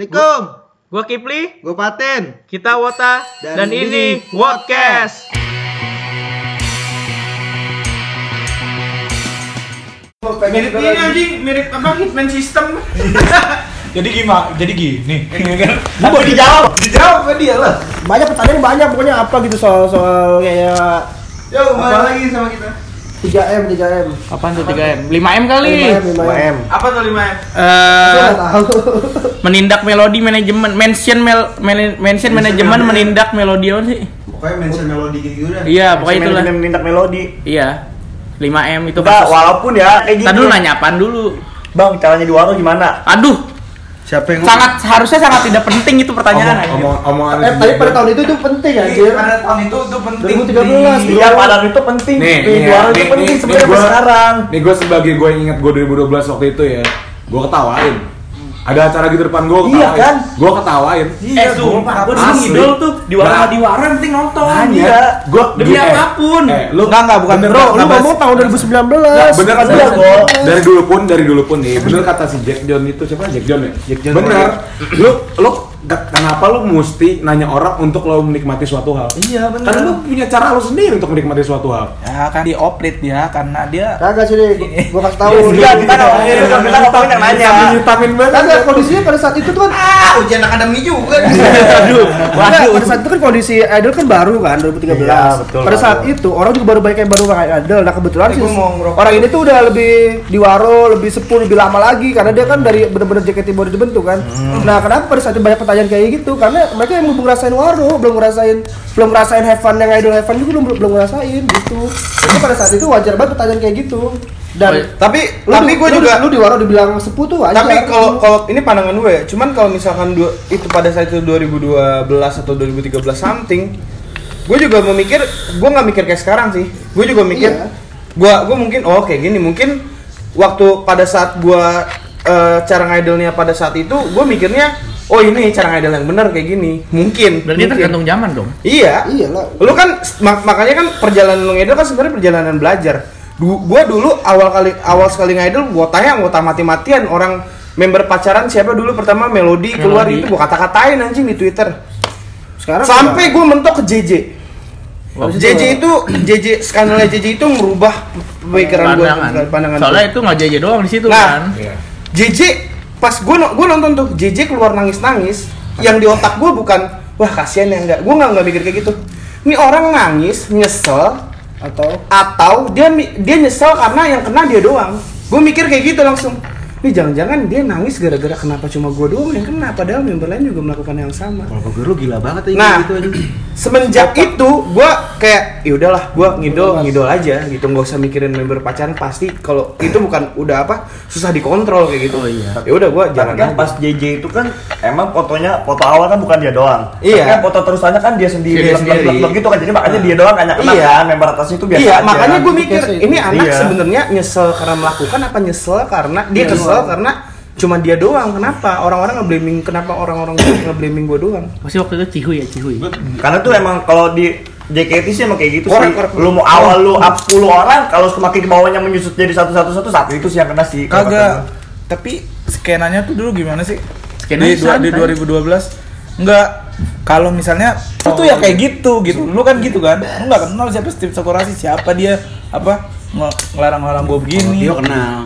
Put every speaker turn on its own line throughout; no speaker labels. Assalamualaikum.
Gua Kipli,
Gue Paten.
kita Wota,
Dan
dan,
ini
ini Wotcast. Mirip ini anjing, mirip apa Hitman System.
Jadi gimana? Jadi gini.
Nah, boleh dijawab.
Dijawab sama dia lah.
Banyak pertanyaan banyak pokoknya apa gitu soal soal kayak
Ya,
Yo, kembali lagi sama kita.
3M 3M.
Apaan tuh 3M? 5M kali.
5M 5M.
Apa tuh lima M?
Eh,
Nggak tahu.
menindak melodi manajemen, mention mel, men- mention manajemen menindak melodi apa sih?
Pokoknya mention melodi gitu udah.
Iya, pokoknya itulah.
Manajemen menindak melodi.
Iya. 5M itu
Enggak,
kasus.
walaupun ya kayak gini.
Tadi lu nanya apaan dulu?
Bang, caranya di warung gimana?
Aduh,
Siapa yang
sangat harusnya sangat tidak penting itu pertanyaan. anjing.
ngomong ngomong
Eh, tapi pada tahun itu itu penting anjir.
Pada tahun itu itu penting.
2013. Iya, pada tahun itu penting.
Nih,
Di
nih,
warung itu
nih,
penting
nih,
sebenarnya
nih,
sampai
gua-
sekarang.
Nih gue sebagai gue inget gue 2012 waktu itu ya Gue ketawain Ada acara gitu depan gue
Iya,
ketawain
kan?
Gue ketawain
Eh,
Iya, sumpah. Gue dulu
Asli.
ngidol tuh di warung
Nah.
di warung penting nonton.
Iya.
Gue
Demi apapun.
eh, lu,
Enggak, enggak, bukan.
bener,
Bro, lu
bener,
ngomong tahun 2019.
Bener kan
Iya,
bener.
Bro.
Dari dulu pun, dari dulu pun nih Bener kata si Jack John itu, siapa Jack John ya?
Jack John.
Bener Lu, lu ga- kenapa lu mesti nanya orang untuk lo menikmati suatu hal?
Iya, bener.
Karena lu punya cara lu sendiri untuk menikmati suatu hal.
Ya kan dioplit dia karena dia
Kagak sih, deh. Gua- gua kasih tahu.
Iya,
Enggak,
iya,
kita
iya,
ngomongin
iya,
kita
iya,
ngomongin yang nanya.
Tapi nyutamin banget.
Kagak kondisinya pada saat itu tuh kan
ah ujian akademi juga.
Aduh, Enggak, pada saat itu kan kondisi idol kan baru kan 2013.
Iya, betul,
pada saat
baru.
itu orang juga baru banyak yang baru main idol. Nah kebetulan
Eh,
sih
gua mau ngerokok.
orang ini tuh udah lebih di waro, lebih sepuh, lebih lama lagi karena dia kan dari bener-bener JKT baru dibentuk kan. Nah kenapa pada saat itu banyak pertanyaan kayak gitu? Karena mereka yang belum ngerasain waro, belum ngerasain belum ngerasain heaven yang idol heaven juga belum belum ngerasain gitu. Jadi pada saat itu wajar banget pertanyaan kayak gitu. Dan
tapi
lu
tapi
di-
gue
lu-
juga
lu di waro dibilang sepuh tuh wajar.
tapi kalau kalau ini pandangan gue ya cuman kalau misalkan dua, itu pada saat itu 2012 atau 2013 something gue juga memikir gue nggak mikir kayak sekarang sih gue juga mikir
Iya.
gue gue mungkin oh kayak gini mungkin waktu pada saat gue eh, cara ngidolnya pada saat itu gue mikirnya oh ini cara ngidol yang benar kayak gini mungkin
Berarti
mungkin.
tergantung zaman dong.
Iya.
Iya lah.
Lu kan mak- makanya kan perjalanan lu ngidol kan sebenarnya perjalanan belajar. Du- gua dulu awal kali awal sekali ngidol gua tanya gua tanya mati-matian orang member pacaran siapa dulu pertama melodi keluar
Melodi.
itu gua kata-katain anjing di Twitter.
sekarang
Sampai gua mentok ke JJ.
Wow.
JJ itu JJ skandalnya JJ itu merubah pemikiran gua
Pandangan.
pandangan
Soalnya
gua.
itu nggak jaja doang di situ
Nah.
kan.
Iya.
JJ pas gua no- gua nonton tuh JJ keluar nangis-nangis yang di otak gua bukan wah kasihan ya enggak gua nggak nggak mikir kayak gitu. Ini orang nangis, nyesel,
atau
atau dia mi- dia nyesel karena yang kena dia doang gue mikir kayak gitu langsung ini jangan-jangan dia nangis gara-gara kenapa cuma gue doang yang kena padahal member lain juga melakukan yang sama
Kalau gue lu gila banget ya
Nah.
gitu aja.
semenjak itu gue kayak ya udahlah gue ngidol ngidol aja gitu nggak usah mikirin member pacaran pasti kalau itu bukan udah apa susah dikontrol kayak gitu ya udah gue
Tapi
jalan aja.
kan pas JJ itu kan emang fotonya foto awal kan bukan dia doang.
Iya.
Tapi kan foto terusannya kan dia sendiri.
Dia
blok, blok,
sendiri.
blok, blok gitu kan jadi makanya dia doang hanya kena
Iya.
kan member atasnya itu biasa
iya,
aja. kan.
makanya
gitu
gue mikir
Biasa itu.
ini anak
Iya.
sebenarnya nyesel karena melakukan apa nyesel karena dia
Iya,
kesel karena cuma dia doang. Kenapa orang-orang nge-blaming kenapa orang-orang nge-blaming gue doang?
Pasti waktu itu Cihuy ya, Cihuy.
Karena tuh emang kalau di JKT sih emang kayak gitu
Korek,
sih.
korek.
Lu mau awal lu up 10 orang kalau semakin ke bawahnya menyusut jadi satu-satu satu satu itu sih yang kena sih. kalau
Kagak. Tapi skenanya tuh dulu gimana sih?
Skenanya
di, dua, di
santai.
2012 enggak kalau misalnya itu tuh ya kayak gitu gitu lu kan gitu kan lu nggak kenal siapa Steve Sakurasi siapa dia apa nge- ngelarang-ngelarang gue
Iya.
begini
Tio kenal.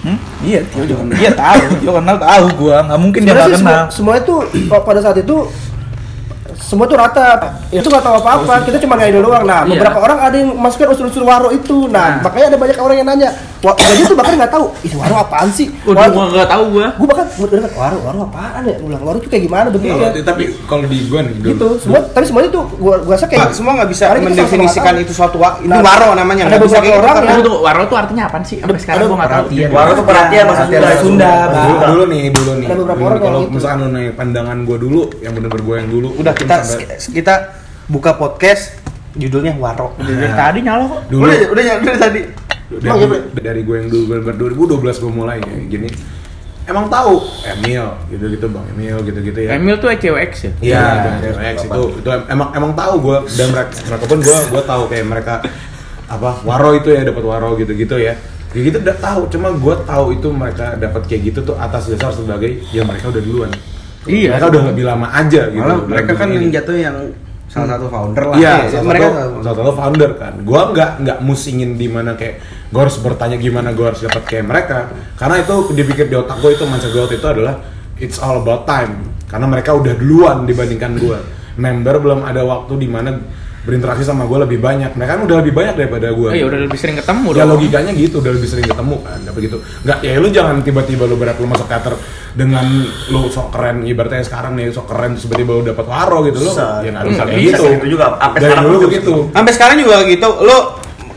Hmm? Iya, Tio juga kenal. Iya tahu, Tio kenal tahu gua, nggak mungkin dia
Sebenarnya
nggak
sih semua,
kenal.
semua itu pa- pada saat itu semua itu rata itu nggak tahu apa-apa kita cuma ngidol doang nah
Iya.
beberapa orang ada yang masukin unsur-unsur waro itu nah,
Nah.
makanya ada banyak orang yang nanya wah jadi tuh bahkan nggak tahu itu waro apaan sih
Udah gua nggak tahu gua.
gue bahkan gue dengar waro waro apaan ya ulang waro itu kayak gimana
Iya,
Kalau-
bentuknya
Tapi kalau di gue nih dulu
Iya. gitu semua tapi semuanya tuh gue gue rasa kayak
Pak, semua nggak bisa
Karena kita
mendefinisikan
sama-sama
itu suatu wa- itu
Nah,
waro namanya.
ada
nggak bisa
beberapa
kayak gitu
orang
karena-
Tunggu tunggu, waro tuh artinya apaan sih? Sampai sekarang gua nggak tahu.
Iya,
Waro tuh perhatian sama
Perhatian sama Sunda, Bang.
dulu, dulu nih dulu nih
Ada beberapa
dulu
orang
kalau
yang gitu.
misalkan lu nanya pandangan gue dulu yang bener-bener gue yang dulu
Udah
mungkin
kita
sampai-
kita buka podcast judulnya waro.
Dari tadi nyala kok.
dulu
Udah udah nyala dari tadi.
dari, dari gue yang dulu bener-bener 2012 gue mulai ya gini emang tahu Emil gitu-gitu bang Emil gitu-gitu ya
Emil tuh ECWX ya.
Iya, X itu, itu em- emang emang tahu gue dan mereka mereka pun gue gue tahu kayak mereka apa waro itu ya dapat waro gitu gitu ya ya gitu udah tahu cuma gue tahu itu mereka dapat kayak gitu tuh atas dasar sebagai ya mereka udah duluan
Iya.
mereka udah lebih lama aja gitu
Malah mereka kan yang
Ini.
jatuh yang salah satu founder lah.
Iya,
Ya,
salah
mereka
satu, salah satu founder kan. Gua nggak nggak musingin di mana kayak gua harus bertanya gimana gua harus dapat kayak mereka. Karena itu dipikir di otak gua itu mindset gua waktu itu adalah it's all about time. Karena mereka udah duluan dibandingkan gua. Member belum ada waktu di mana berinteraksi sama gua lebih banyak. Mereka kan udah lebih banyak daripada gua.
Oh iya udah lebih sering ketemu
Ya
dong.
logikanya gitu, udah lebih sering ketemu kan, tapi gitu. Nggak, ya lu jangan tiba-tiba lu berat lu masuk teater dengan lu sok keren, ibaratnya sekarang nih sok keren, terus tiba-tiba lu dapat waro gitu lu.
Susah.
Ya nggak bisa kayak
Bisa
gitu.
gitu juga, sampai
Dari
sekarang
dulu
juga
begitu.
Sampai sekarang juga gitu. Lo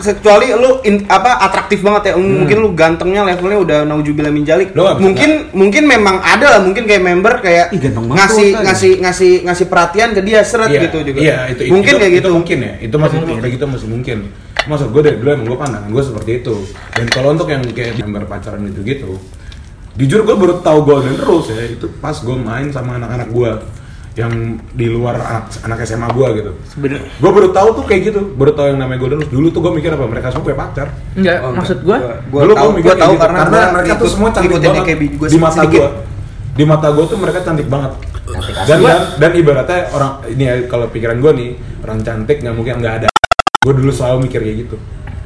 kecuali lo in- apa atraktif banget ya.
Hmm.
Mungkin lo gantengnya levelnya udah naujubillah minjalik.
Lo nggak bisa
mungkin mungkin memang ada lah mungkin kayak member kayak
Ih, ganteng banget
ngasih
tuh, kan.
ngasih ngasih ngasih perhatian ke dia seret
Iya,
gitu juga.
Iya, itu, itu
mungkin
itu,
kayak gitu.
Itu mungkin ya. Itu masih itu kayak gitu masih mungkin. Maksud gue dari dulu emang gue pandangan gue seperti itu. Dan kalau untuk yang kayak gambar pacaran gitu-gitu, jujur gue baru tahu golden rules ya itu pas gue main sama anak-anak gue yang di luar anak, anak SMA gue gitu.
Sebenernya
Gue baru tahu tuh kayak gitu, baru tahu yang namanya golden rules. Dulu tuh gue mikir apa mereka semua punya pacar.
enggak maksud gua
Gua
Dulu
tahu-
gua mikir
gua
kayak
tahu
gitu.
karena gua
mereka tuh
ikut-
semua cantik
ngikutin
banget
kayak bi- gua
di mata
sedikit.
gue di mata gue tuh mereka cantik banget dan dan, dan ibaratnya orang ini ya, kalau pikiran gue nih orang cantik nggak mungkin nggak ada gue dulu selalu mikir kayak gitu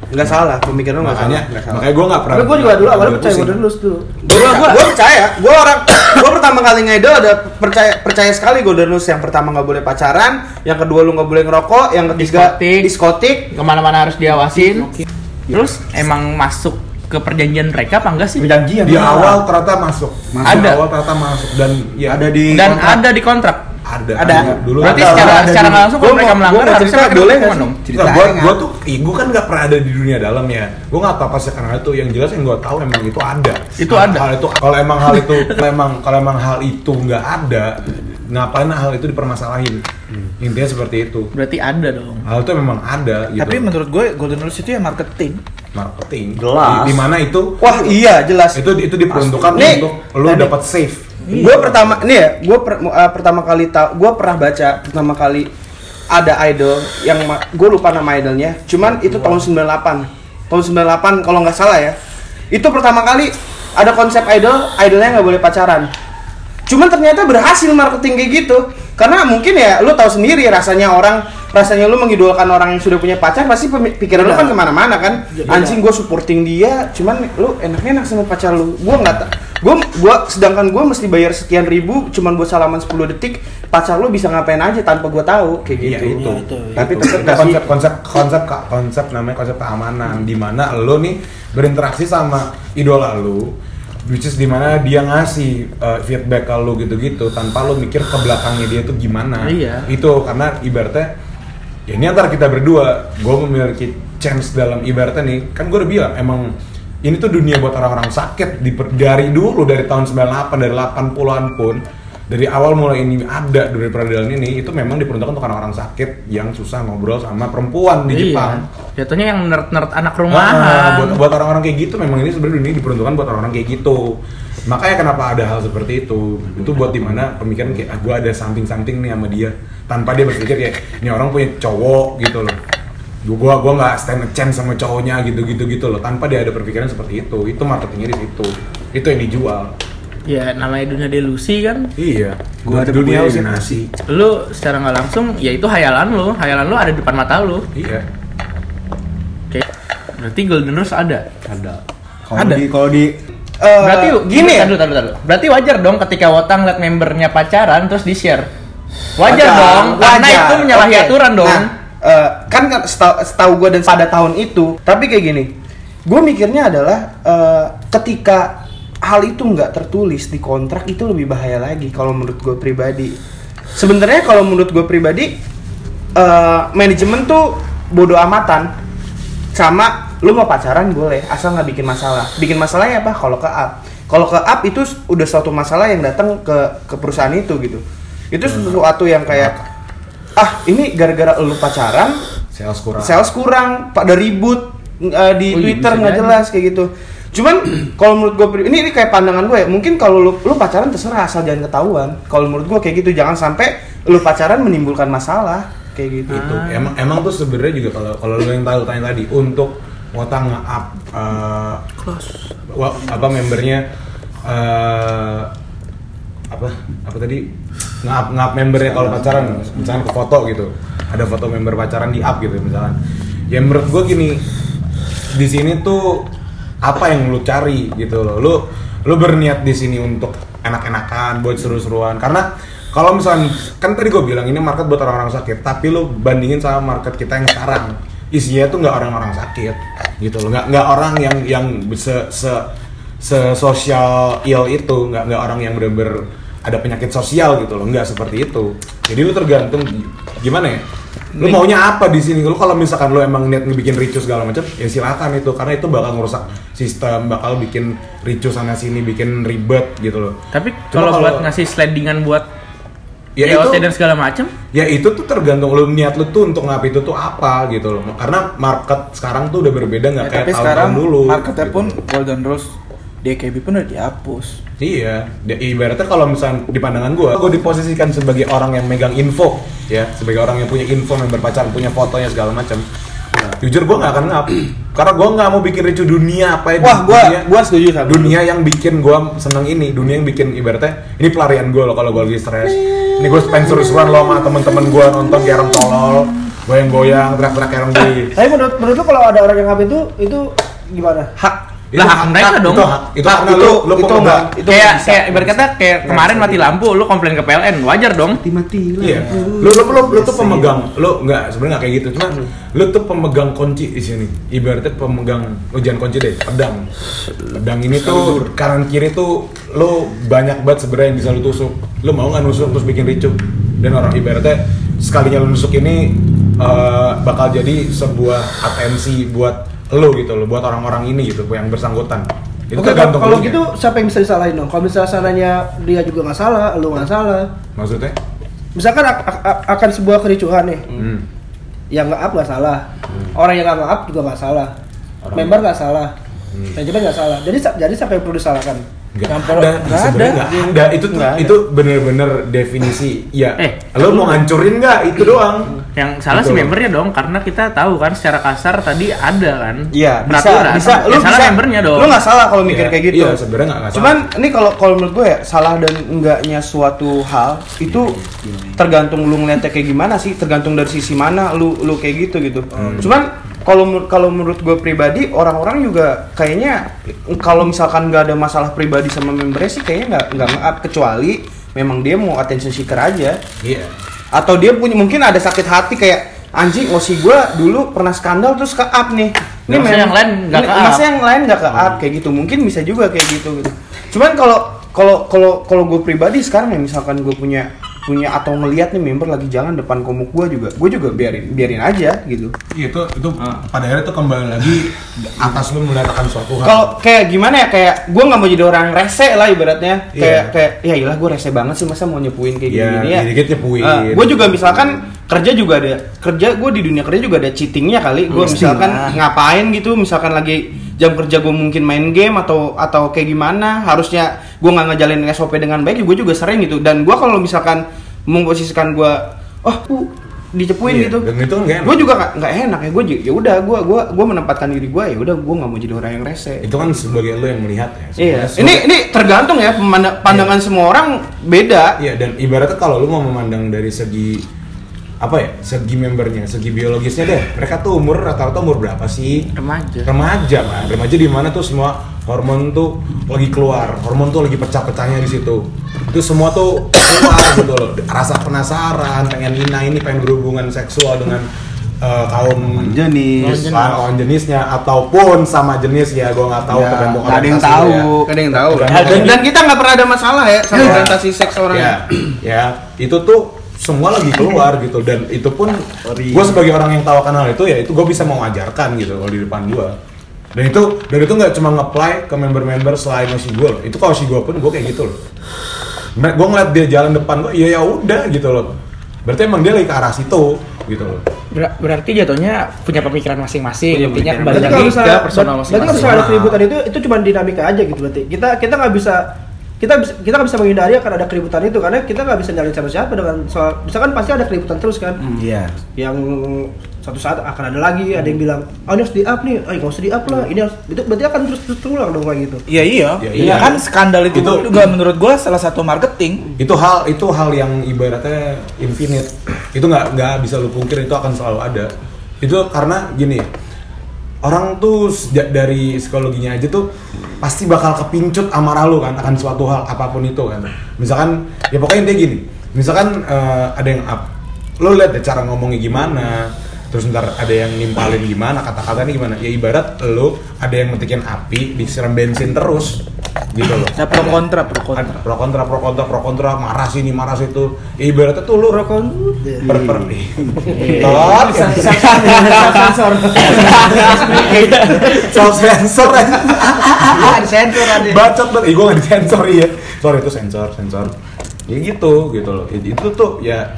Nggak salah, pemikiran lo nggak salah.
makanya makanya gue nggak pernah
Tapi gue juga dulu awalnya percaya
pusing.
gue dulu dulu.
Gua, gua, gua percaya, gua orang gua pertama kali ngidol ada percaya percaya sekali Golden Rules yang pertama nggak boleh pacaran, yang kedua lu nggak boleh ngerokok, yang ketiga
Diskotik.
diskotik.
kemana-mana harus diawasin. Terus emang masuk ke perjanjian mereka apa enggak sih?
Perjanjian.
Iya.
di awal ternyata masuk, masuk
Ada.
awal ternyata masuk dan ya
ada di
Dan ada di kontrak.
ada
Ada.
dulu
Berarti
ada.
secara
ada
secara
di-
nggak langsung kalau
Gua
mereka
mau-
melanggar
gua mau
harusnya mereka
cerita, boleh
kena
nggak
hukuman dong.
cerita
Nggak, gua,
aja,
gua tuh, ih, gua kan nggak pernah ada di dunia dalam ya. Gua nggak tahu apa sih karena itu. Yang jelas yang gua tahu emang itu ada.
Itu
Hal-
ada.
Hal itu kalau emang hal itu kalau emang kalau emang hal itu nggak ada, ngapain hal itu dipermasalahin? Intinya seperti itu.
Berarti ada dong.
Hal itu memang ada gitu.
Tapi menurut gue Golden Rules itu ya marketing.
marketing
Jelas.
Di, di mana itu
Wah iya jelas.
itu iya. itu diperuntukkan
Nih,
untuk lu dapat safe.
Gue pertama nih ya, gue pertama kali tau, gue pernah baca pertama kali ada idol yang gue lupa nama idolnya, cuman itu tahun 98, tahun 98 kalau nggak salah ya. Itu pertama kali ada konsep idol, idolnya nggak boleh pacaran. Cuman ternyata berhasil marketing kayak gitu, karena mungkin ya lu tahu sendiri rasanya orang rasanya lu mengidolakan orang yang sudah punya pacar pasti pemi- pikiran lu kan kemana-mana kan anjing gue supporting dia cuman lu enak-enak sama pacar lu gue nggak ta- gua gua sedangkan gue mesti bayar sekian ribu cuman buat salaman 10 detik pacar lu bisa ngapain aja tanpa gue tahu kayak
Iya
gitu
itu. gitu. Tapi tetap konsep konsep konsep kak konsep namanya konsep keamanan di mana lo nih berinteraksi sama idola lo which is dimana dia ngasih uh, feedback ke lo gitu-gitu tanpa lo mikir ke belakangnya dia tuh gimana
Iya.
itu karena ibaratnya ya ini antara kita berdua gue memiliki chance dalam ibaratnya nih kan gue udah bilang emang ini tuh dunia buat orang-orang sakit di, dari dulu dari tahun 98 dari 80-an pun dari awal mulai ini ada dari peradilan ini itu memang diperuntukkan untuk orang-orang sakit yang susah ngobrol sama perempuan di Jepang
Iya. Jatuhnya yang nerd-nerd anak
Ah,
rumahan.
buat buat orang-orang kayak gitu memang ini sebenarnya dunia diperuntukkan buat orang-orang kayak gitu. Makanya kenapa ada hal seperti itu? Itu buat dimana pemikiran kayak ah, gue ada something-something nih sama dia tanpa dia berpikir kayak ini orang punya cowok gitu loh. Gue gua gua nggak stand a chance sama cowoknya gitu-gitu gitu loh tanpa dia ada perpikiran seperti itu. Itu marketingnya di situ. Itu yang dijual.
Ya namanya dunia delusi kan.
Iya.
Gua ada
dunia
punya
halusinasi.
Lu secara nggak langsung ya itu hayalan lu, hayalan lu ada di depan mata lu.
Iya.
Oke. Berarti Golden Rules ada.
ada. Kalau di kalau di
Eh,
Berarti
gini ya
Tadu, tadu, tadu. Berarti wajar dong ketika Wotang liat membernya pacaran terus di-share. Wajar, dong, karena
wajar.
itu menyalahi
Oke.
aturan dong.
Nah, eh, kan kan setahu, gue dan pada tahun itu, tapi kayak gini, gue mikirnya adalah eh, ketika hal itu nggak tertulis di kontrak itu lebih bahaya lagi kalau menurut gue pribadi. Sebenarnya kalau menurut gue pribadi, eh, manajemen tuh bodoh amatan sama lu mau pacaran boleh asal nggak bikin masalah bikin masalahnya apa kalau ke up kalau ke up itu s- udah suatu masalah yang datang ke ke perusahaan itu gitu itu
Hmm.
sesuatu yang kayak ah ini gara-gara lu pacaran
Sales kurang.
sales kurang pada ribut n- eh,
Ah. Oh
di
iya,
Twitter
bisa
nggak
jadi.
jelas kayak gitu cuman kalau menurut gue ini ini kayak pandangan gue ya mungkin kalau lu, lu pacaran terserah asal jangan ketahuan kalau menurut gue kayak gitu jangan sampai lu pacaran menimbulkan masalah kayak gitu
itu emang emang tuh sebenarnya juga kalau kalau lo yang tahu tanya tadi untuk Wota nge-up eh, wa- apa membernya eh apa apa tadi nge-up nge-up membernya kalau pacaran misalkan ke foto gitu ada foto member pacaran di up gitu misalkan ya menurut gue gini di sini tuh apa yang lu cari gitu loh lu lu berniat di sini untuk enak-enakan buat seru-seruan karena kalau misalnya kan tadi gue bilang ini market buat orang-orang sakit tapi lu bandingin sama market kita yang sekarang isinya tuh nggak orang-orang sakit gitu loh nggak nggak orang yang yang se se sesosial ill itu nggak nggak orang yang bener-bener ada penyakit sosial gitu loh nggak seperti itu jadi lu tergantung gi- gimana ya lu maunya apa di sini lu kalau misalkan lu emang niat ngebikin ricu segala macam ya silakan itu karena itu bakal ngerusak sistem bakal bikin ricu sana sini bikin ribet gitu loh
Tapi
Cuma
kalau
kalau-
buat ngasih slidingan buat
Ya,
EOT
itu-
dan segala macem
ya itu tuh tergantung lu niat lu tuh untuk ngapa itu tuh apa gitu loh karena market sekarang tuh udah berbeda
Ya,
nggak Nah, kayak
tapi
tahun-tahun
sekarang
dulu
marketnya
gitu.
pun Golden Rules DKB pun udah dihapus.
Iya, di- ibaratnya kalau misalnya di pandangan gue, gue diposisikan sebagai orang yang megang info, ya, sebagai orang yang punya info member pacaran, punya fotonya segala macam. Nah, Jujur gue nggak akan ngap, karena gue nggak mau bikin ricu dunia apa ya.
Wah, gua
dunia-
gua setuju sama. lu.
dunia yang bikin gue seneng ini dunia yang bikin ibaratnya ini pelarian gue loh kalau gue lagi stres ini gue pengen seru-seruan loh sama temen-temen gue nonton kayak orang tolol goyang-goyang teriak-teriak kayak orang gay.
Tapi menurut menurut lu kalau ada orang yang ngapain itu itu gimana?
Hak
Itu
Lah, hak mereka dong.
itu hak itu
hak
karena
itu
Nah, lu lu
itu
pemegang.
enggak itu
kayak
nggak bisa.
kayak ibarat kata kayak kemarin mati lampu lu komplain ke PLN wajar dong
mati-mati
Iya. Lu lu lu,
Iya
lu tuh pemegang, lu nggak sebenarnya nggak kayak gitu, cuma
Hmm.
lu tuh pemegang kunci di sini. Ibaratnya pemegang ujian kunci deh, pedang. Pedang ini tuh kanan kiri tuh lu banyak banget sebenarnya yang bisa lu tusuk. Lu mau nggak nusuk terus bikin ricu. Dan orang ibaratnya sekalinya lu nusuk ini eh, bakal jadi sebuah atensi buat lu gitu loh, buat orang-orang ini gitu yang bersangkutan. Itu
Oke,
tergantung
kalau
klunya.
gitu siapa yang bisa disalahin dong? Kalau misalnya sananya dia juga nggak salah, lu nggak salah.
maksudnya?
Misalkan ak- ak- ak- akan sebuah kericuhan nih,
Hmm.
yang nggak up nggak salah, orang yang nggak up juga nggak salah,
Orang- Hmm.
member nggak salah, manajemen nggak salah. Jadi sa- jadi siapa yang perlu disalahkan?
Gak
Yang
ada,
perlu- nggak
sebenarnya
ada.
nggak ada. Itu tuh- itu bener-bener definisi. Ya,
Eh,
lo mau ngancurin nggak? Itu doang.
yang salah si
Betul.
membernya dong karena kita tahu kan secara kasar tadi ada kan
Iya, bisa,
peraturan.
bisa.
Ya, salah membernya dong
Lu nggak salah kalau mikir
Iya,
kayak gitu.
Iya, sebenarnya nggak nggak
Cuman
salah.
ini kalau kalau menurut gue ya salah dan enggaknya suatu hal itu
Iya,
tergantung lu ngeliatnya kayak gimana sih, tergantung dari sisi mana lu lu kayak gitu gitu.
Oh, iya.
Cuman kalau menur- kalau menurut gue pribadi orang-orang juga kayaknya kalau misalkan nggak ada masalah pribadi sama membernya sih kayaknya nggak nggak maaf kecuali memang dia mau attention seeker aja
Iya.
atau dia punya mungkin ada sakit hati kayak anjing ngosi gue dulu pernah skandal terus ke up nih ini
Maksudnya yang lain nggak
ini-
ke up. Oh.
maksudnya yang lain nggak ke up kayak gitu mungkin bisa juga kayak gitu gitu cuman kalau kalau kalau kalau gue pribadi sekarang ya misalkan gue punya punya atau ngelihat nih member lagi jalan depan komuk gue juga gue juga biarin biarin aja gitu
Iya, itu itu pada akhirnya tuh kembali lagi atas lu meletakkan suatu hal.
kalau kayak gimana ya kayak gue nggak mau jadi orang rese lah ibaratnya
Iya.
kayak kayak ya iyalah gue rese banget sih masa mau nyepuin kayak
Iya,
gini ya
dikit-dikit nyepuin.
gue juga misalkan kerja juga ada kerja gue di dunia kerja juga ada cheatingnya kali gue misalkan ngapain gitu misalkan lagi jam kerja gue mungkin main game atau atau kayak gimana harusnya gue nggak ngejalanin SOP dengan baik gue juga sering gitu dan gue kalau misalkan memposisikan gue oh uh, dicepuin
Iya,
gitu
Dan itu nggak enak.
gue juga nggak- nggak enak ya gue ya udah gue gue gue menempatkan diri gue ya udah gue nggak mau jadi orang yang rese
Itu kan sebagai lu yang melihat ya.
Iya. Ini
Sebenarnya sebagai-
ini tergantung ya pemanda- pandangan semua orang beda.
Iya dan ibaratnya kalau lu mau memandang dari segi apa ya segi membernya, segi biologisnya deh. Mereka tuh umur rata-rata umur berapa sih?
remaja
Remaja kan, remaja di mana tuh semua hormon tuh lagi keluar, hormon tuh lagi pecah-pecahnya di situ. Itu semua tuh keluar gitu loh. Rasa penasaran, pengen Nina ini pengen berhubungan seksual dengan eh, kaum
Iya
jenis
lawan- lawan jenisnya ataupun sama jenis ya gue nggak tahu
Ya,
tergantung
Gak Iya, ada yang
orientasi
tahu,
lu ya.
gak ada yang tahu.
Tergantung
Dan,
orientasi.
dan kita nggak pernah ada masalah ya sama orientasi seks orang.
Iya.
ya, ya itu tuh semua lagi keluar gitu dan itu pun gue sebagai orang yang tahu akan hal itu ya itu gue bisa mengajarkan gitu kalau di depan gue dan itu dan itu nggak cuma ngeplay ke member-member selain si gue loh itu kalau si gue pun gue kayak gitu loh gue ngeliat dia jalan depan gue ya ya udah gitu loh berarti emang dia lagi ke arah situ gitu loh
Ber- berarti jatuhnya punya pemikiran
Iya,
masing-masing
Punya
intinya
pemikiran
Berarti
kembali lagi
kalau
ke
misalnya, berarti
personal
kalau
masing-masing
misalnya ada keributan itu itu cuma dinamika aja gitu berarti. Kita kita nggak bisa kita bisa, kita nggak bisa menghindari akan ada keributan itu karena kita nggak bisa nyalin siapa siapa dengan soal misalkan pasti ada keributan terus kan
Iya.
yang satu saat akan ada lagi ada yang bilang oh ini harus di up nih oh nggak usah di up lah ini harus itu berarti akan terus terus terulang dong kayak gitu
Iya iya.
Iya,
Iya
iya.
kan skandal itu,
Itu-
Iya.
juga menurut gua salah satu marketing.
itu hal itu hal yang ibaratnya infinite itu nggak nggak bisa lu pungkir itu akan selalu ada itu karena gini orang tuh sejak dari psikologinya aja tuh pasti bakal kepincut amarah lu kan akan suatu hal apapun itu kan misalkan ya pokoknya intinya gini misalkan eh, ada yang up lu lihat deh cara ngomongnya gimana terus ntar ada yang nimpalin gimana kata-katanya gimana ya ibarat lu ada yang metikin api disiram bensin terus gitu loh
Ada pro kontra pro
Kan,
kontra.
pro kontra pro kontra pro kontra marah sini marah situ ibaratnya tuh lu pro kontra per per
Iya.
Tot. Soal sensor aja.
Ah, Iya.
bacot banget Ih, gua nggak disensor iya sorry itu sensor sensor ya gitu gitu loh It- itu tuh ya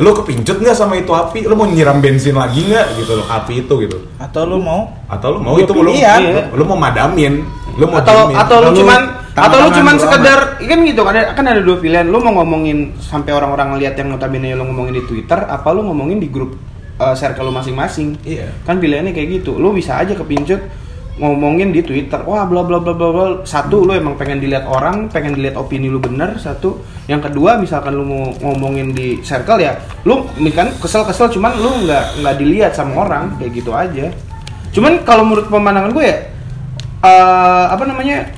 lu kepincut nggak sama itu api lu mau nyiram bensin lagi nggak gitu loh api itu gitu
Atau lu mau
atau lu mau itu lu,
pilihan.
lu, lu mau madamin lu mau
Iya. atau
diemin.
atau lu cuman atau lu
tangan-tangan
cuman
bodo amat.
sekedar kan gitu kan ada, kan ada dua pilihan lu mau ngomongin sampai orang-orang lihat yang notabene lu ngomongin di Twitter apa lu ngomongin di grup eh, circle lu masing-masing
Iya.
kan pilihannya kayak gitu lu bisa aja kepincut ngomongin di Twitter wah bla bla bla bla bla satu lu emang pengen dilihat orang pengen dilihat opini lu bener satu yang kedua misalkan lu mau ngomongin di circle ya lu kan kesel kesel cuman lu nggak nggak dilihat sama orang kayak gitu aja cuman kalau menurut pemandangan gue ya eh, apa namanya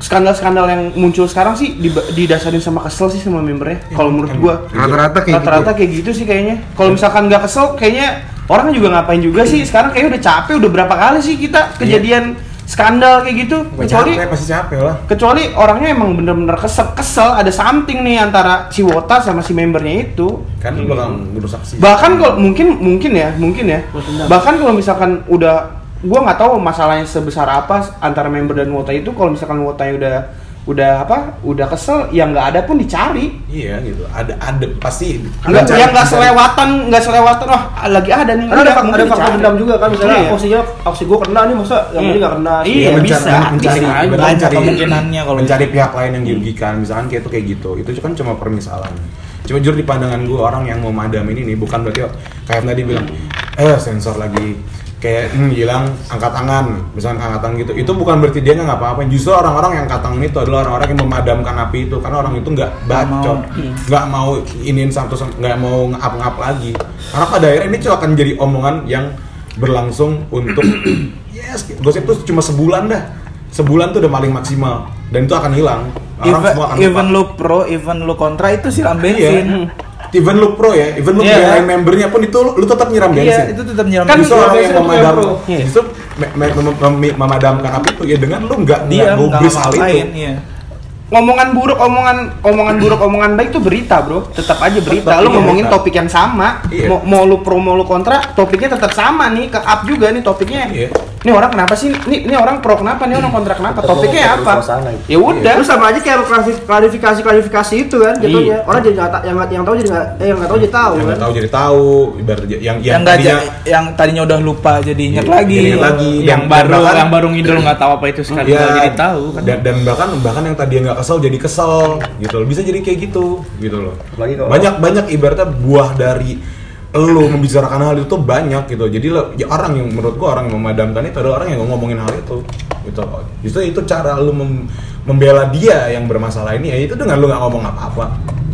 skandal-skandal yang muncul sekarang sih dib- didasarin sama kesel sih sama membernya kalau menurut gua
Iya, kan Rata-rata kayak gitu.
rata-rata kayak gitu sih kayaknya kalau misalkan nggak kesel kayaknya orang juga ngapain juga sih sekarang kayaknya udah capek udah berapa kali sih kita kejadian skandal kayak gitu
Gua
kecuali
Iya. capek, pasti capek lah
kecuali orangnya emang bener-bener kesel kesel ada something nih antara si Wota sama si membernya itu
kan lu bakal merusak sih
bahkan kalau mungkin mungkin ya mungkin ya bahkan kalau misalkan udah gua nggak tahu masalahnya sebesar apa antara member dan wota itu kalau misalkan wota udah udah apa udah kesel yang nggak ada pun dicari
iya gitu ada ada pasti
Nggak-
Ada-
yang nggak
ada-
selewatan nggak selewatan wah lagi ada nih
karena Kan ada,
Nggak,
fak-
mungkin
ada faktor
dicari.
dendam juga kan misalnya
Iya.
aksinya aksi gue kena nih masa yang ini nggak kena
Iya,
Iya,
bisa.
mencari,
Bisa aja.
mencari,
Banyak kemungkinannya kalau
mencari pihak lain yang dirugikan, misalkan kayak itu kayak gitu. Itu kan cuma permisalan. Cuma jujur di pandangan gue orang yang mau madam ini nih bukan berarti kayak tadi bilang, eh sensor lagi kayak hmm, hilang angkat tangan, misalkan angkat tangan gitu. Itu bukan berarti dia nggak ngapa-ngapain. Justru orang-orang yang angkat tangan itu adalah orang-orang yang memadamkan api itu karena orang itu nggak bacot, nggak mau iya. iniin satu nggak mau ngap-ngap lagi. Karena pada akhirnya ini cuma akan jadi omongan yang berlangsung untuk yes gosip tuh cuma sebulan dah sebulan tuh udah paling maksimal dan itu akan hilang orang
even,
semua akan Iya.
even lu pro, even lu kontra itu siram bensin.
even lu pro ya even lu
Iya.
belain membernya pun itu lu, lu tetap nyiram bensin
Iya, itu tetap nyiram
kan justru
bensin.
orang yang
itu yang
memadam
pro.
justru me- me- mem- mem- memadamkan api itu ya dengan lu nggak gitu.
Dia
nggak
nggak
gubris hal
ngapain,
itu
iya.
omongan buruk omongan omongan buruk omongan baik itu berita bro tetap aja berita
Tetap,
lu
iya,
ngomongin
berita.
topik yang sama
Iya.
mau, mau lu pro mau lu kontra topiknya tetap sama nih ke up juga nih topiknya
Iya.
ini orang kenapa sih ini ini orang pro kenapa nih orang kontra kenapa
Tetap
topiknya
mau
apa
ke sana gitu.
ya udah
Terus sama aja kayak klarifikasi klarifikasi itu kan jatuhnya
Iya.
orang jadi nggak ta- yang nggak- yang tahu jadi nggak eh yang nggak tahu jadi tahu
yang
kan
nggak tahu jadi tahu ibarat yang yang,
Yang nggak
tadinya Iya,
ja- yang tadinya udah lupa jadi ingat lagi.
jadi ingat lagi.
yang
Dan-
baru
dan bahkan-
yang baru ngidol nggak tahu apa itu sekarang
Iya,
jadi tahu kan
dan, dan bahkan bahkan yang tadi nggak kesel jadi kesel gitu loh bisa jadi kayak gitu gitu loh
Apalagi kalau-
banyak banyak ibaratnya buah dari lo membicarakan hal itu tuh banyak gitu jadi lo ya orang yang menurut gua orang yang memadamkan itu adalah orang yang ngomongin hal itu gitu loh. justru itu cara lo mem- membela dia yang bermasalah ini ya itu dengan lo nggak ngomong apa-apa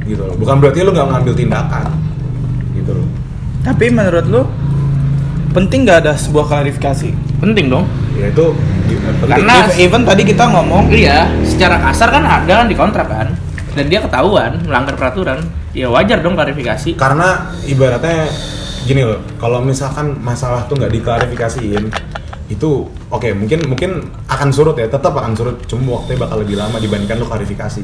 gitu loh bukan berarti lo nggak ngambil tindakan gitu loh
Tapi menurut lu penting nggak ada sebuah klarifikasi?
penting dong
ya itu eh, penting.
Karena- Nah,
Even- even tadi kita ngomong
iya secara kasar kan ada kan di kontrak kan dan dia ketahuan melanggar peraturan ya wajar dong klarifikasi
karena ibaratnya gini loh kalau misalkan masalah tuh nggak diklarifikasiin itu oke mungkin mungkin akan surut ya tetap akan surut cuma waktunya bakal lebih lama dibandingkan lo klarifikasi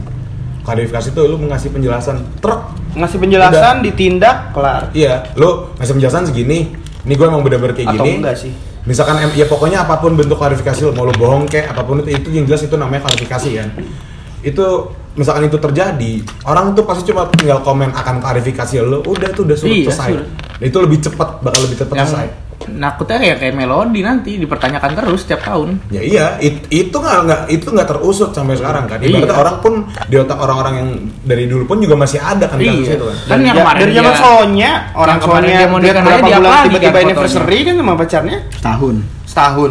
klarifikasi tuh lu ngasih penjelasan truk
ngasih penjelasan ditindak kelar
iya lo ngasih penjelasan segini ini gue emang bener-bener kayak
Atau
gini
enggak sih?
misalkan em- ya pokoknya apapun bentuk klarifikasi lo mau lo bohong kayak apapun itu itu yang jelas itu namanya klarifikasi kan itu misalkan itu terjadi orang tuh pasti cuma tinggal komen akan klarifikasi lo udah itu udah sudah
Iya,
selesai
sudah.
Dan itu lebih cepat bakal lebih cepat
yang
selesai
nakutnya kayak kayak melodi nanti dipertanyakan terus setiap tahun
Ya iya, it- itu nggak nggak itu nggak terusut sampai sekarang kan. Ibaratnya
Iya.
orang pun di otak orang-orang yang dari dulu pun juga masih ada kan kasus
iya
itu kan.
kan yang kemarin
Ya, dari zaman
dia-
Sonya, orang
yang kemarin
Sonya
dia mau
dia
nikahin aja
berapa
dia
bulan
apalagi
tiba-tiba
kan fotonya.
anniversary kan sama pacarnya
tahun
setahun.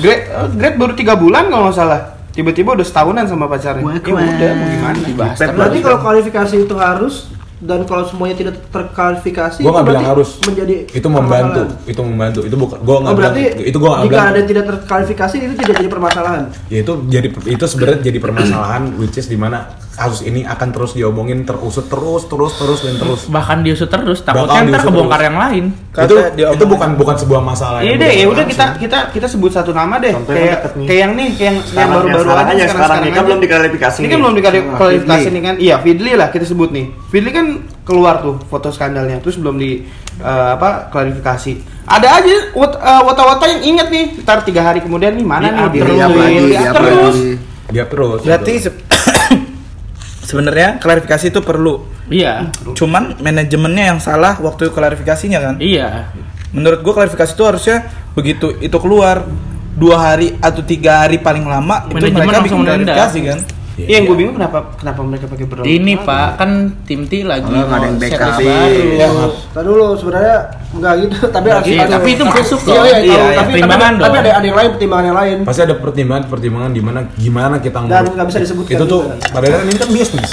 Great, eh, great baru tiga bulan kalau nggak salah. Tiba-tiba udah setahunan sama pacarnya. Ya udah mau gimana?
dibahas
Berarti kalau kualifikasi itu harus dan kalau semuanya tidak terkualifikasi
Gua nggak
itu
bilang
berarti
harus.
menjadi
Itu membantu,
permasalahan.
itu membantu. Itu bukan gua
Oh,
nggak bilang
berarti
itu gua nggak
jika
bilang.
ada yang tidak terkualifikasi itu tidak jadi permasalahan.
Ya itu jadi itu sebenarnya jadi permasalahan which is dimana kasus ini akan terus diomongin terusut terus terus terus dan terus.
bahkan diusut terus
Bakal
takutnya ntar
diusut
kebongkar
terus.
yang lain
Kata
itu
dia
itu bukan bukan sebuah masalah.
Iya
yang
deh, ya
berlangsung.
udah kita kita kita sebut satu nama deh.
Contohnya
Kayak
deket nih.
kayak yang nih, kayak yang yang
Sekarang, yang
baru-baru
sekarang aja, sekarang nih, kan
aja.
belum diklarifikasi
Ini kan
nih.
belum
Nah,
diklarifikasi
Fidli.
nih kan. Iya, Fidli lah kita sebut nih. Fidli kan keluar tuh foto skandalnya, terus belum di eh, apa klarifikasi. Ada aja wat- eh, wata-wata yang inget nih, ntar tiga hari kemudian nih mana nih
Di-up
di
terus,
di-up
di-up
lagi, di-up terus.
dia terus.
Berarti se- sebenarnya klarifikasi itu perlu.
iya
Cuman manajemennya yang salah waktu klarifikasinya kan.
iya
Menurut gua klarifikasi itu harusnya begitu itu keluar dua hari atau tiga hari paling lama itu
Manajemen
mereka
langsung
bikin
menunda.
klarifikasi kan.
Iya.
Iya, yang gue bingung kenapa kenapa mereka pakai berlalu.
ini pak kan tim T lagi
Kalau nggak ada yang
set
backup.
list baru
Iya.
Tadi dulu sebenarnya nggak gitu, tapi harus
Iya,
ada-
tapi itu masuk
Iya,
dong.
iya,
Iya,
tahu.
iya.
tapi, tapi,
Pertimbangan
tapi
dong. Iya,
ada, ada yang lain pertimbangan yang lain.
gitu. pasti ada pertimbangan-pertimbangan di mana gimana kita
Dan
ngurus.
nggak bisa disebutkan
itu tuh
juga.
padahal kan ini kan bisnis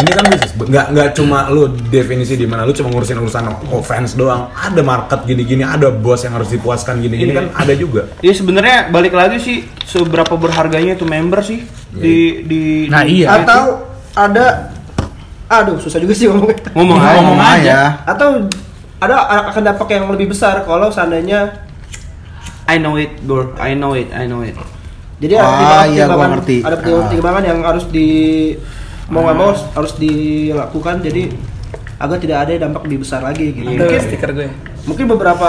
ini kan bisnis nggak nggak cuma lu definisi di mana lu cuma ngurusin urusan offense doang ada market gini-gini ada bos yang harus dipuaskan gini-gini kan ada juga
Ya sebenarnya balik lagi sih seberapa berharganya itu member sih di di
Nah,
di-
iya.
Atau ada aduh susah juga sih ngomongnya.
ngomong aja.
ngomong aja
Atau ada akan dampak yang lebih besar kalau seandainya
I know it, bro. I know it, I know it.
jadi ada
Ah,
pertimbangan,
iya, gua
pertimbangan-
ngerti. Ah.
ada pertimbangan, pertimbangan yang harus di mau nggak mau harus dilakukan jadi agar tidak ada dampak lebih besar lagi
Iya,
gitu.
Itu
Mungkin
stiker gue.
mungkin beberapa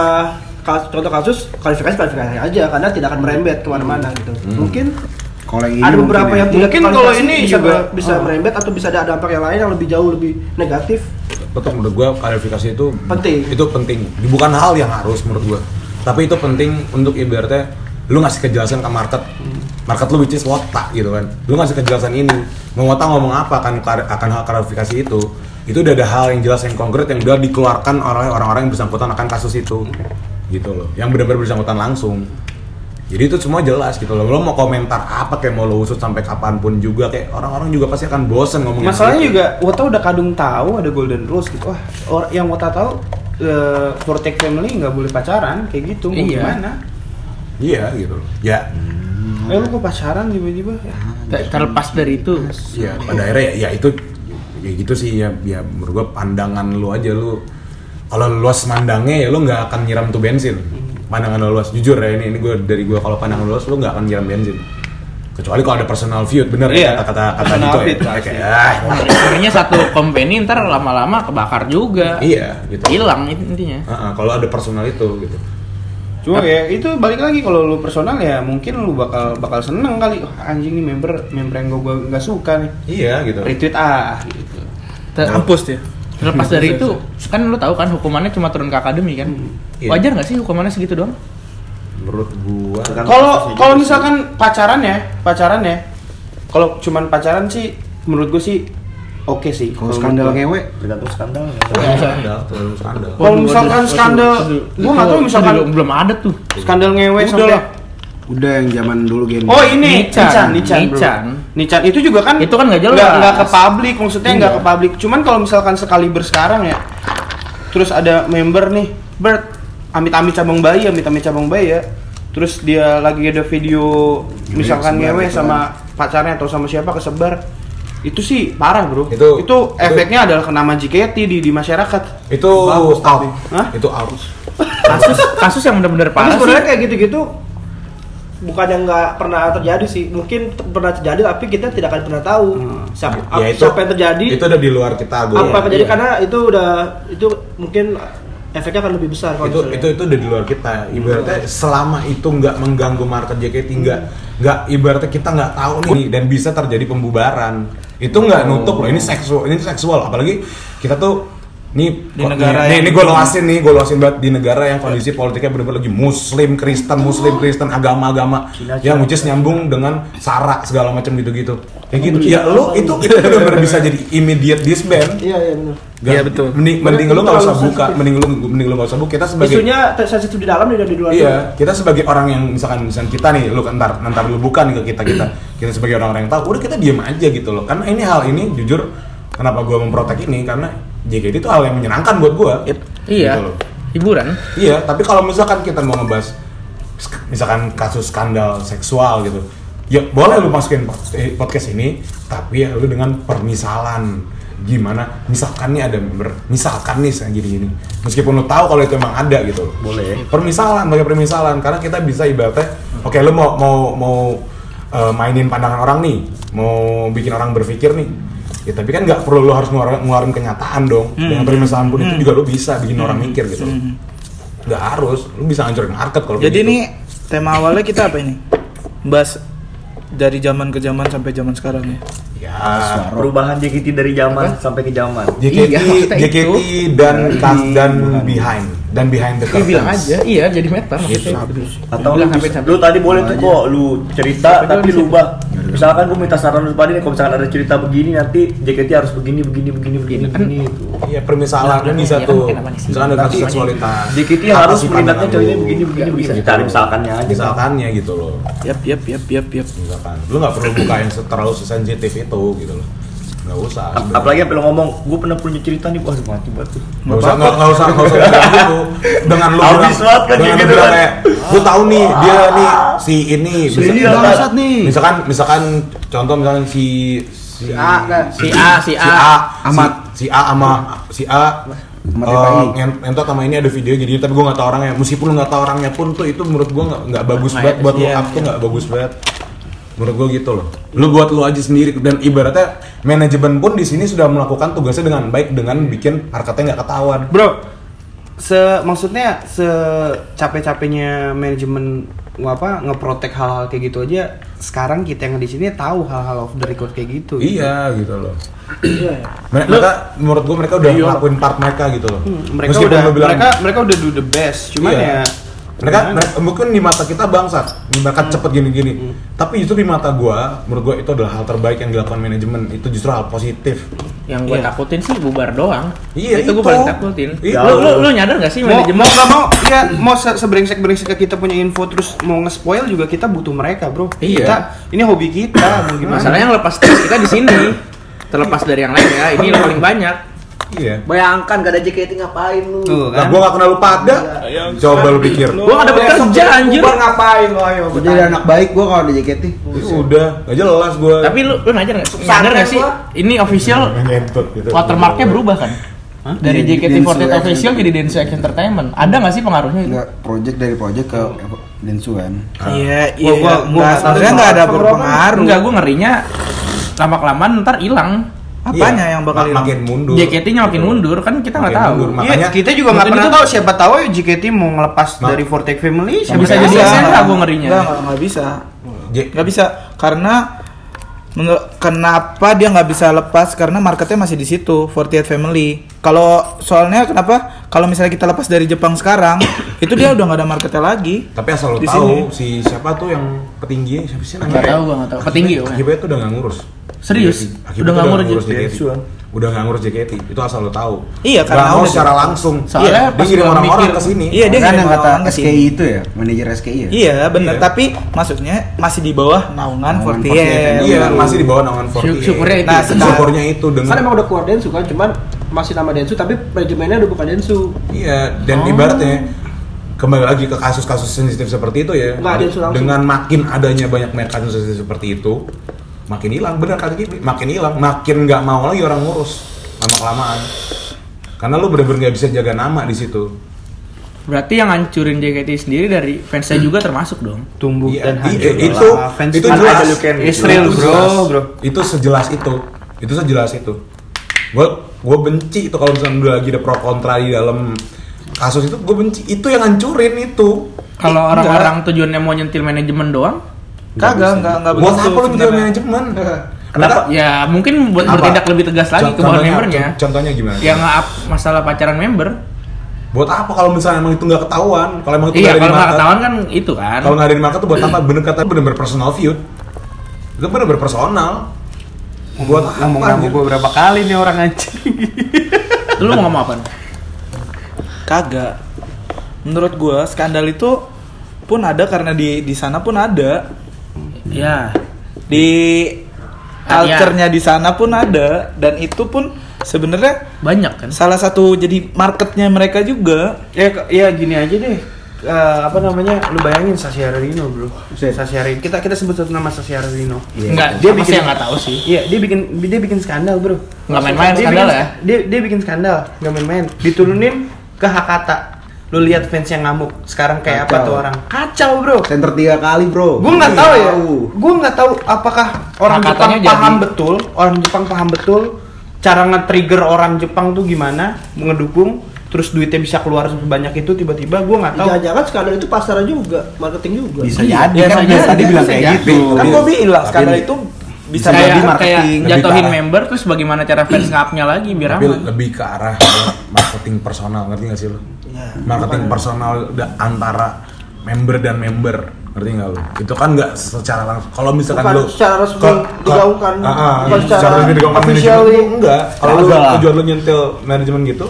kasus, contoh kasus kualifikasi kualifikasi aja karena tidak akan merembet kemana-mana gitu mungkin
Hmm. kalau yang ini
ada
mungkin
beberapa
ya. Ah.
yang tidak
Mungkin kalau
kualifikasi
ini
bisa
juga-
ber- bisa merembet atau bisa ada dampak yang lain yang lebih jauh lebih negatif
betul menurut gua klarifikasi itu
Penting.
itu penting bukan hal yang harus menurut gua tapi itu penting untuk ibaratnya lu ngasih kejelasan ke market
Hmm.
market lu which is wota gitu kan lu ngasih kejelasan ini mau wota ngomong apa kan klar- akan hal klarifikasi itu itu udah ada hal yang jelas yang konkret yang udah dikeluarkan oleh orang-orang yang bersangkutan akan kasus itu gitu loh yang benar-benar bersangkutan langsung jadi itu semua jelas gitu loh lo mau komentar apa kayak mau lo usut sampai kapanpun juga kayak orang-orang juga pasti akan bosen ngomongin
Masalahnya
itu.
juga Wota udah kadung tahu ada golden rules gitu. Wah, or, yang Wota tahu eh, protect family nggak boleh pacaran kayak gitu. Mau
Iya.
gimana?
iya gitu loh ya
Eh lu kok pacaran tiba-tiba? Ya.
Ter- terlepas dari itu
ya pada akhirnya ya, ya itu ya gitu sih ya, ya menurut gua pandangan lu aja lu kalau lu luas mandangnya ya lu nggak akan nyiram tuh bensin pandangan lu luas jujur ya ini ini gua dari gua kalau pandangan lu luas lu nggak akan nyiram bensin kecuali kalau ada personal view bener
Iya.
ya kata-kata kata
Personal
gitu ya
view, pasti.
kayak ah,
akhirnya satu company ntar lama-lama kebakar juga
iya gitu
hilang itu intinya
Heeh, kalau ada personal itu gitu
Cuma ya itu balik lagi kalau lu personal ya mungkin lu bakal bakal seneng kali. Wah, anjing nih member member yang gua- gua nggak suka nih.
iya gitu
Retweet ah gitu.
Ter-
Kampus dia.
terlepas dari itu kan lu tahu kan hukumannya cuma turun ke akademi kan
Iya.
wajar nggak sih hukumannya segitu doang
menurut gua kan,
Kalau kalau misalkan pacaran ya, pacaran ya. Kalau cuman pacaran sih menurut gua sih oke sih.
kalau
Kalau
skandal
menurut gua.
ngewe
Tergantung skandal.
terlalu skandal terlalu skandal
Kalau misalkan skandal, gua nggak tahu
Itu
misalkan
belum, belum ada tuh
skandal ngewe
Udah
sampai
lah.
udah yang zaman dulu game
Oh ini
Nican,
Nican, Nican, bro.
Nican.
Nican. itu juga kan
Itu kan nggak jelas.
nggak- nggak ke publik maksudnya nggak
Iya.
ke publik cuman kalau misalkan sekali bersekarang ya terus ada member nih Bert amit-amit cabang bayi amit-amit cabang bayi ya terus dia lagi ada video
Iya,
misalkan
kesebar
ngewe
gitu
kan.
sama pacarnya atau sama siapa kesebar itu sih parah bro
Itu-
itu efeknya adalah ke nama JKT di di masyarakat
itu out
Hah?
itu out
kasus kasus yang benar-benar
tapi
parah
sebenarnya
sih
kayak gitu-gitu bukan yang nggak pernah terjadi sih mungkin t- pernah terjadi tapi kita tidak akan pernah tahu siapa,
ya itu
siapa yang terjadi
itu iya, udah di luar kita gua
apa yang terjadi Kan karena itu udah itu mungkin efeknya akan lebih besar kalau
itu
misalnya.
itu itu udah di luar kita ibaratnya selama itu nggak mengganggu market JKT nggak nggak ibaratnya kita nggak tahu nih dan bisa terjadi pembubaran itu nggak nutup loh ini seksual ini seksual apalagi kita tuh Nih,
Di
kok-
negara yang-
nih, nih, gue luasin nih, gue luasin banget di negara yang kondisi politiknya bener-bener lagi Muslim, Kristen, Muslim, Kristen, agama-agama yang which is nyambung dengan sara segala macam gitu-gitu. Ya gitu. Ya lu itu itu bener-bener bisa jadi immediate disband.
Iya iya benar.
Iya betul. Mending, mending lu nggak usah buka, mending lu mending lu nggak usah buka. Kita sebagai
Isunya sensitif di dalam dan di luar.
Iya, kita sebagai orang yang misalkan misalkan kita nih, lu kan ntar ntar lu bukan ke kita kita, kita sebagai orang-orang yang tahu, udah kita diem aja gitu loh. Karena ini hal ini jujur, kenapa gue memprotek ini karena JKT itu hal yang menyenangkan buat gue.
Iya.
Gitu loh.
Hiburan.
Iya, tapi kalau misalkan kita mau ngebahas sk- misalkan kasus skandal seksual gitu, ya boleh lu masukin pod- eh, podcast ini, tapi ya lu dengan permisalan gimana misalkan nih ada member misalkan nih saya gini gini meskipun lu tahu kalau itu emang ada gitu loh boleh permisalan pakai permisalan karena kita bisa ibaratnya oke lu mau mau mau eh, mainin pandangan orang nih mau bikin orang berpikir nih ya tapi kan nggak perlu lu harus ngeluarin, ngeluarin kenyataan dong dengan permisalan pun itu juga lu bisa bikin orang mikir gitu loh nggak harus lu bisa hancurin market kalau
Jadi
begitu.
ini tema awalnya kita apa ini? Bahas dari zaman ke zaman sampai zaman sekarang ya.
ya
Perubahan JKT dari zaman sampai ke zaman.
JKT,
Iya, maksudnya itu.
JKT dan kas dan behind dan behind the
Lu
curtains Gitu.
bilang aja, iya jadi meter maksudnya.
Atau lu,
bilang sampai
bisa-
sampai.
lu tadi boleh tuh kok lu cerita tapi lu ubah. Misalkan gue minta saran lu pada nih kalau misalkan ada cerita begini nanti JKT harus begini begini begini begini Gitu. begini itu.
iya permisalan kan
Nah,
bisa
iya,
tuh
kan kenapa di sini?
misalkan ada kasus seksualitas
JKT
Apa
harus
sih
meningkatnya
pandangan
cowoknya
lu?
begini begini bisa dicari misalkannya aja.
gitu. misalkannya gitu loh
Yap, yap, yap, yap, yap.
misalkan lu nggak perlu buka yang terlalu sensitif itu gitu loh nggak usah
Ap-
sebenarnya.
Apalagi apa lu ngomong, gue pernah punya cerita nih, waduh mati banget tuh.
Gak usah, gak, gak usah, gak usah bilang gitu Dengan lu
Habis
bilang,
banget kan
dengan
kayak
lu
gitu
bilang
kan.
kayak Gue tau nih, dia nih, si ini
ini
misalkan-
bangsat
nih.
Misalkan, misalkan, contoh misalkan si Si
A, nah.
Si A, si A.
Ahmad Si A sama Si A
Ahmad
eh,
FAI.
ngen- Ngentot sama ini ada video jadi tapi gue gak tau orangnya Meskipun lu gak tau orangnya pun tuh itu menurut gue gak, nggak bagus
Nggak
banget
ya,
Buat lu
iya,
up tuh gak bagus banget menurut gue gitu loh lu buat lu aja sendiri dan ibaratnya manajemen pun di sini sudah melakukan tugasnya dengan baik dengan bikin harkatnya nggak ketahuan
Bro, se maksudnya se capek-capeknya manajemen ngapa ngeprotek hal-hal kayak gitu aja sekarang kita yang di sini tahu hal-hal off the record kayak gitu. Iya,
Iya gitu loh. Mere- mereka menurut gua mereka udah ngelakuin part mereka gitu loh.
Hmm, mereka
Meskipun
udah
lu bilang,
mereka mereka udah do the best, cuman
Iya.
ya
mereka, mereka- mungkin di mata kita bangsat, mereka
Hmm.
cepet gini-gini. Tapi justru di mata gua, menurut gua itu adalah hal terbaik yang dilakukan manajemen. Itu justru hal positif.
Yang gue
Iya.
takutin sih bubar doang.
Iya,
itu gue
itu.
paling takutin.
Iya.
Lu, lu, lu nyadar gak sih
mau
manajemen?
mau nggak mau ya mau se- sebrengsek-brengseknya kita punya info terus mau nge-spoil juga kita butuh mereka, Bro.
Iya.
Kita ini hobi kita mau gimana.
Masalahnya yang lepas stres kita di sini. Terlepas dari yang lain ya, ini yang paling banyak.
Iya.
Bayangkan gak ada JKT ngapain lu.
Tuh
Nah,
kan. Iya.
gua gak kenal lu pada. Coba lu pikir.
Gue gak dapet kerja anjir.
ngapain lo ayo
Gue jadi anak baik gue kalau di JKT.
Ih, Ya udah, gak jelas gua.
Tapi lu lu nyadar gak? Nyadar gak sih? Ini official
Ngentot gitu.
watermarknya berubah kan?
Iya,
Dari
Jadi
JKT48
Densu
official jadi Densu X Entertainment. Ada gak sih pengaruhnya itu?
Enggak, project dari project ke Densu kan.
Iya, iya.
Gua- gua-
Nggak,
gua-
sebenarnya nggak ada berpengaruh.
Enggak, gue ngerinya lama-kelamaan ntar hilang.
Apanya yang bakal
mak-
hilang?
Iya. makin mundur. Gitu.
JKT-nya makin mundur kan kita nggak
Makin
tahu.
mundur, mak-
Iya,
Makanya-
kita juga nggak
Mungkin
pernah
itu-
tahu siapa tahu JKT mau ngelepas
Nah.
dari Fortek Family siapa
Bisa
tahu.
jadi
Nggak,
Sandra
nggak,
gua ngerinya.
nggak, nggak, nggak bisa.
J-
Nggak bisa karena nge- kenapa dia nggak bisa lepas karena marketnya masih di situ 48 Family. Kalau soalnya kenapa kalau misalnya kita lepas dari Jepang sekarang itu dia udah nggak ada marketnya lagi.
Tapi asal lu
Di
tahu si siapa tuh yang petinggi siapa sih namanya?
Nggak tahu gua, nggak tahu. Petinggi,
Akibatnya-
bukan?
Akibatnya tuh udah nggak ngurus. Iya,
Serius?
Akibatnya
Udah nggak ngurus
JKT.
JKT.
Udah nggak ngurus JKT. Itu asal lu tahu.
Iya, karena
Nggak mau
udah-
secara langsung.
Soalnya
Iya, dia
pas
ngirim
gua
orang-orang
mikir-
ke sini.
Iya dia
kan
ngirim
yang kata
orang-orang ke sini.
SKI itu ya, manajer SKI ya.
Iya benar,
Iya.
tapi maksudnya masih di bawah naungan
Naungan
48.
48.
Iya, masih di bawah naungan 48.
Syuk- syukurnya itu.
Nah,
Nah,
sekarang- syukurnya itu dengan
Kan emang udah keluar Densu kan, cuman masih nama Densu tapi manajemennya udah bukan Densu.
Iya, dan
Oh.
ibaratnya kembali lagi ke kasus-kasus sensitif seperti itu ya.
Nggak ada yang langsung.
dengan makin adanya banyak mekanisme sensitif seperti itu, makin hilang benar kata Gibi, makin hilang, makin nggak mau lagi orang ngurus lama kelamaan. Karena lu bener-bener nggak bisa jaga nama di situ.
Berarti yang ngancurin JKT sendiri dari fansnya
Hmm.
juga termasuk dong.
tumbuh
Iya,
dan
i-
hancur.
i- itu
Lah, fans
itu
kan
jelas.
ada Luke Henry.
Itu
Israel, bro,
jelas.
bro.
Itu sejelas itu. Itu sejelas itu. Gue gue benci itu kalau misalnya udah lagi ada pro kontra di dalam kasus itu gue benci. Itu yang hancurin itu.
Kalau orang-orang tujuannya mau nyentil manajemen doang,
Kagak, nggak nggak
Buat
begitu
apa lu menjadi
sebenarnya.
manajemen?
Kenapa?
Ya mungkin buat
Apa?
bertindak lebih tegas lagi ke Ya, bawah
Contohnya-
membernya.
Contohnya gimana?
Yang up masalah pacaran member.
Buat apa kalau misalnya emang itu nggak ketahuan? Kalau emang itu nggak
Iya,
ada di
kalau nggak
market.
ketahuan kan itu kan.
Kalau nggak ada di market tuh buat apa? Bener kata bener-bener personal feud. Itu bener-bener personal.
Hmm.
Buat apa?
ngomong sama
anjir?
gue berapa kali nih orang anjing
Lu mau ngomong apa? nih?
Kagak. Menurut gua skandal itu pun ada karena di di sana pun ada.
Ya,
Di
Ah, iya.
culture-nya di sana pun ada dan itu pun sebenarnya
banyak kan.
salah satu jadi marketnya mereka juga.
ya ke- ya gini aja deh Eh, apa namanya lu bayangin Sasiarino bro Sasiarino kita kita sebut satu nama Sasiarino
Enggak,
Dia
dia
bikin-
pasti yang nggak tahu sih.
Iya, dia bikin dia bikin skandal, Bro.
Nggak main-main
Dia
skandal
bikin-
ya?
Dia dia bikin skandal, nggak main-main. Diturunin ke Hakata. Lu lihat fans yang ngamuk. Sekarang kayak apa
Kacau.
tuh orang? Kacau, Bro.
Center tiga kali bro.
Gue
Iya.
nggak tahu ya.
Tahu.
Gue nggak tahu apakah orang
Hakatanya
Jepang paham
jadi-
betul, orang Jepang paham betul cara nge-trigger orang Jepang tuh gimana, ngedukung, terus duitnya bisa keluar sebanyak itu tiba-tiba gue nggak tahu.
Jangan-jangan skandal itu pasaran juga, marketing juga.
Bisa jadi
Iya,
kan
bisa
dia
jadi,
tadi
bisa
bilang kayak
jadi.
gitu.
Kan gua bilang
Tapi
skandal itu bisa
bisa
kayak
jadi
kayak
marketing lebih
jatuhin
parah.
member terus bagaimana cara fans ngapnya lagi biar
Tapi
aman.
lebih ke arah marketing personal, ngerti nggak sih lo?
Iya.
marketing personal da- antara member dan member, ngerti nggak lo? Itu kan nggak secara langsung. Kalau misalkan
Bukan
lo
secara resmi
ke- ke-
digaungkan,
ah, ah,
bukan
secara,
secara
resmi digaungkan
officially.
manajemen, enggak. Kalau lo
Kagak.
tujuan lo nyentil manajemen gitu,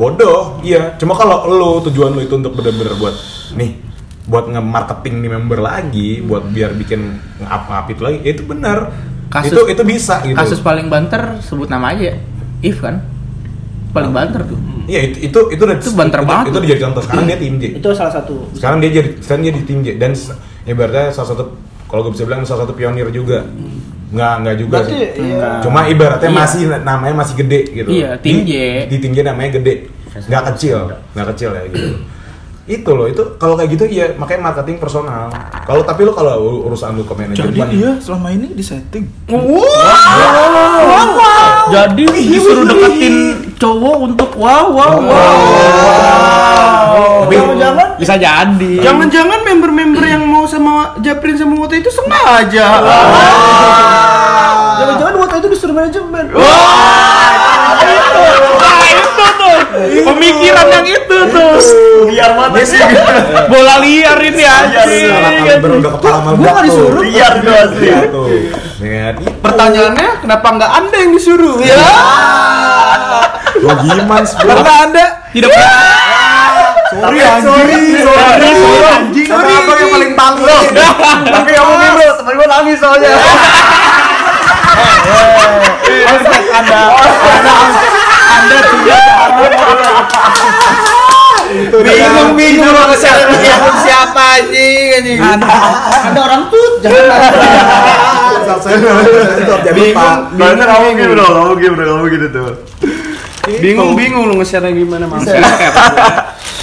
bodoh. Iya. Cuma kalau lo tujuan lo itu untuk bener-bener buat nih buat nge-marketing nih member lagi, buat biar bikin ngap-ngapit lagi, ya itu benar.
Kasus-
itu itu bisa gitu.
Kasus paling banter sebut nama aja. If kan. Paling banter tuh.
Iya itu itu itu udah
Itu banter
itu,
banget
itu
tuh.
jadi contoh sekarang dia tim J.
Itu salah satu.
Sekarang dia jadi sekarang dia di tim J dan se- ibaratnya salah satu kalau gue bisa bilang salah satu pionir juga. Nggak nggak juga
Berarti
sih.
iya.
Cuma ibaratnya
Iya.
masih namanya masih gede gitu.
Iya, tim
Di-
J.
Di tim J namanya gede. Nggak kecil, nggak kecil ya gitu. itu loh itu kalau kayak gitu ya makanya marketing personal. Kalau tapi lo kalau urusan lu ke manajemen
Jadi
iya,
dia iya, selama ini disetting.
Jadi disuruh deketin cowok untuk wow wow wow.
Tapi-
Jangan-jangan
Bisa jadi.
Jangan-jangan member-member yang mau sama Japrin sama Wota itu sengaja.
Iya. jangan-jangan waktu itu disuruh manajemen. Iya.
Nah, itu tuh. Pemikiran yang itu tuh. Iya
Liar banget sih.
Bola liar ini ya. anjing.
Salah kaliber Iya, udah kepala malu.
Iya, Gua nggak disuruh. Liar tuh asli.
Iya tuh. Net,
Pertanyaannya kenapa nggak anda yang disuruh? Ya.
Gua gimans bro.
Karena Anda
Tidak pernah.
Sorry anjing. Sorry anjing. Sorry abang yang paling bangga.
Tapi ya mungkin bro, temen gue nangis soalnya.
Iya.
Eh,
Bingung bingung siapa siapa, siapa anjing anjing.
Ada orang tuh jangan
Bingung.
Bener kamu gitu bro, kamu gitu bro, kamu gitu tuh.
Bingung bingung lu nge-share gimana mas?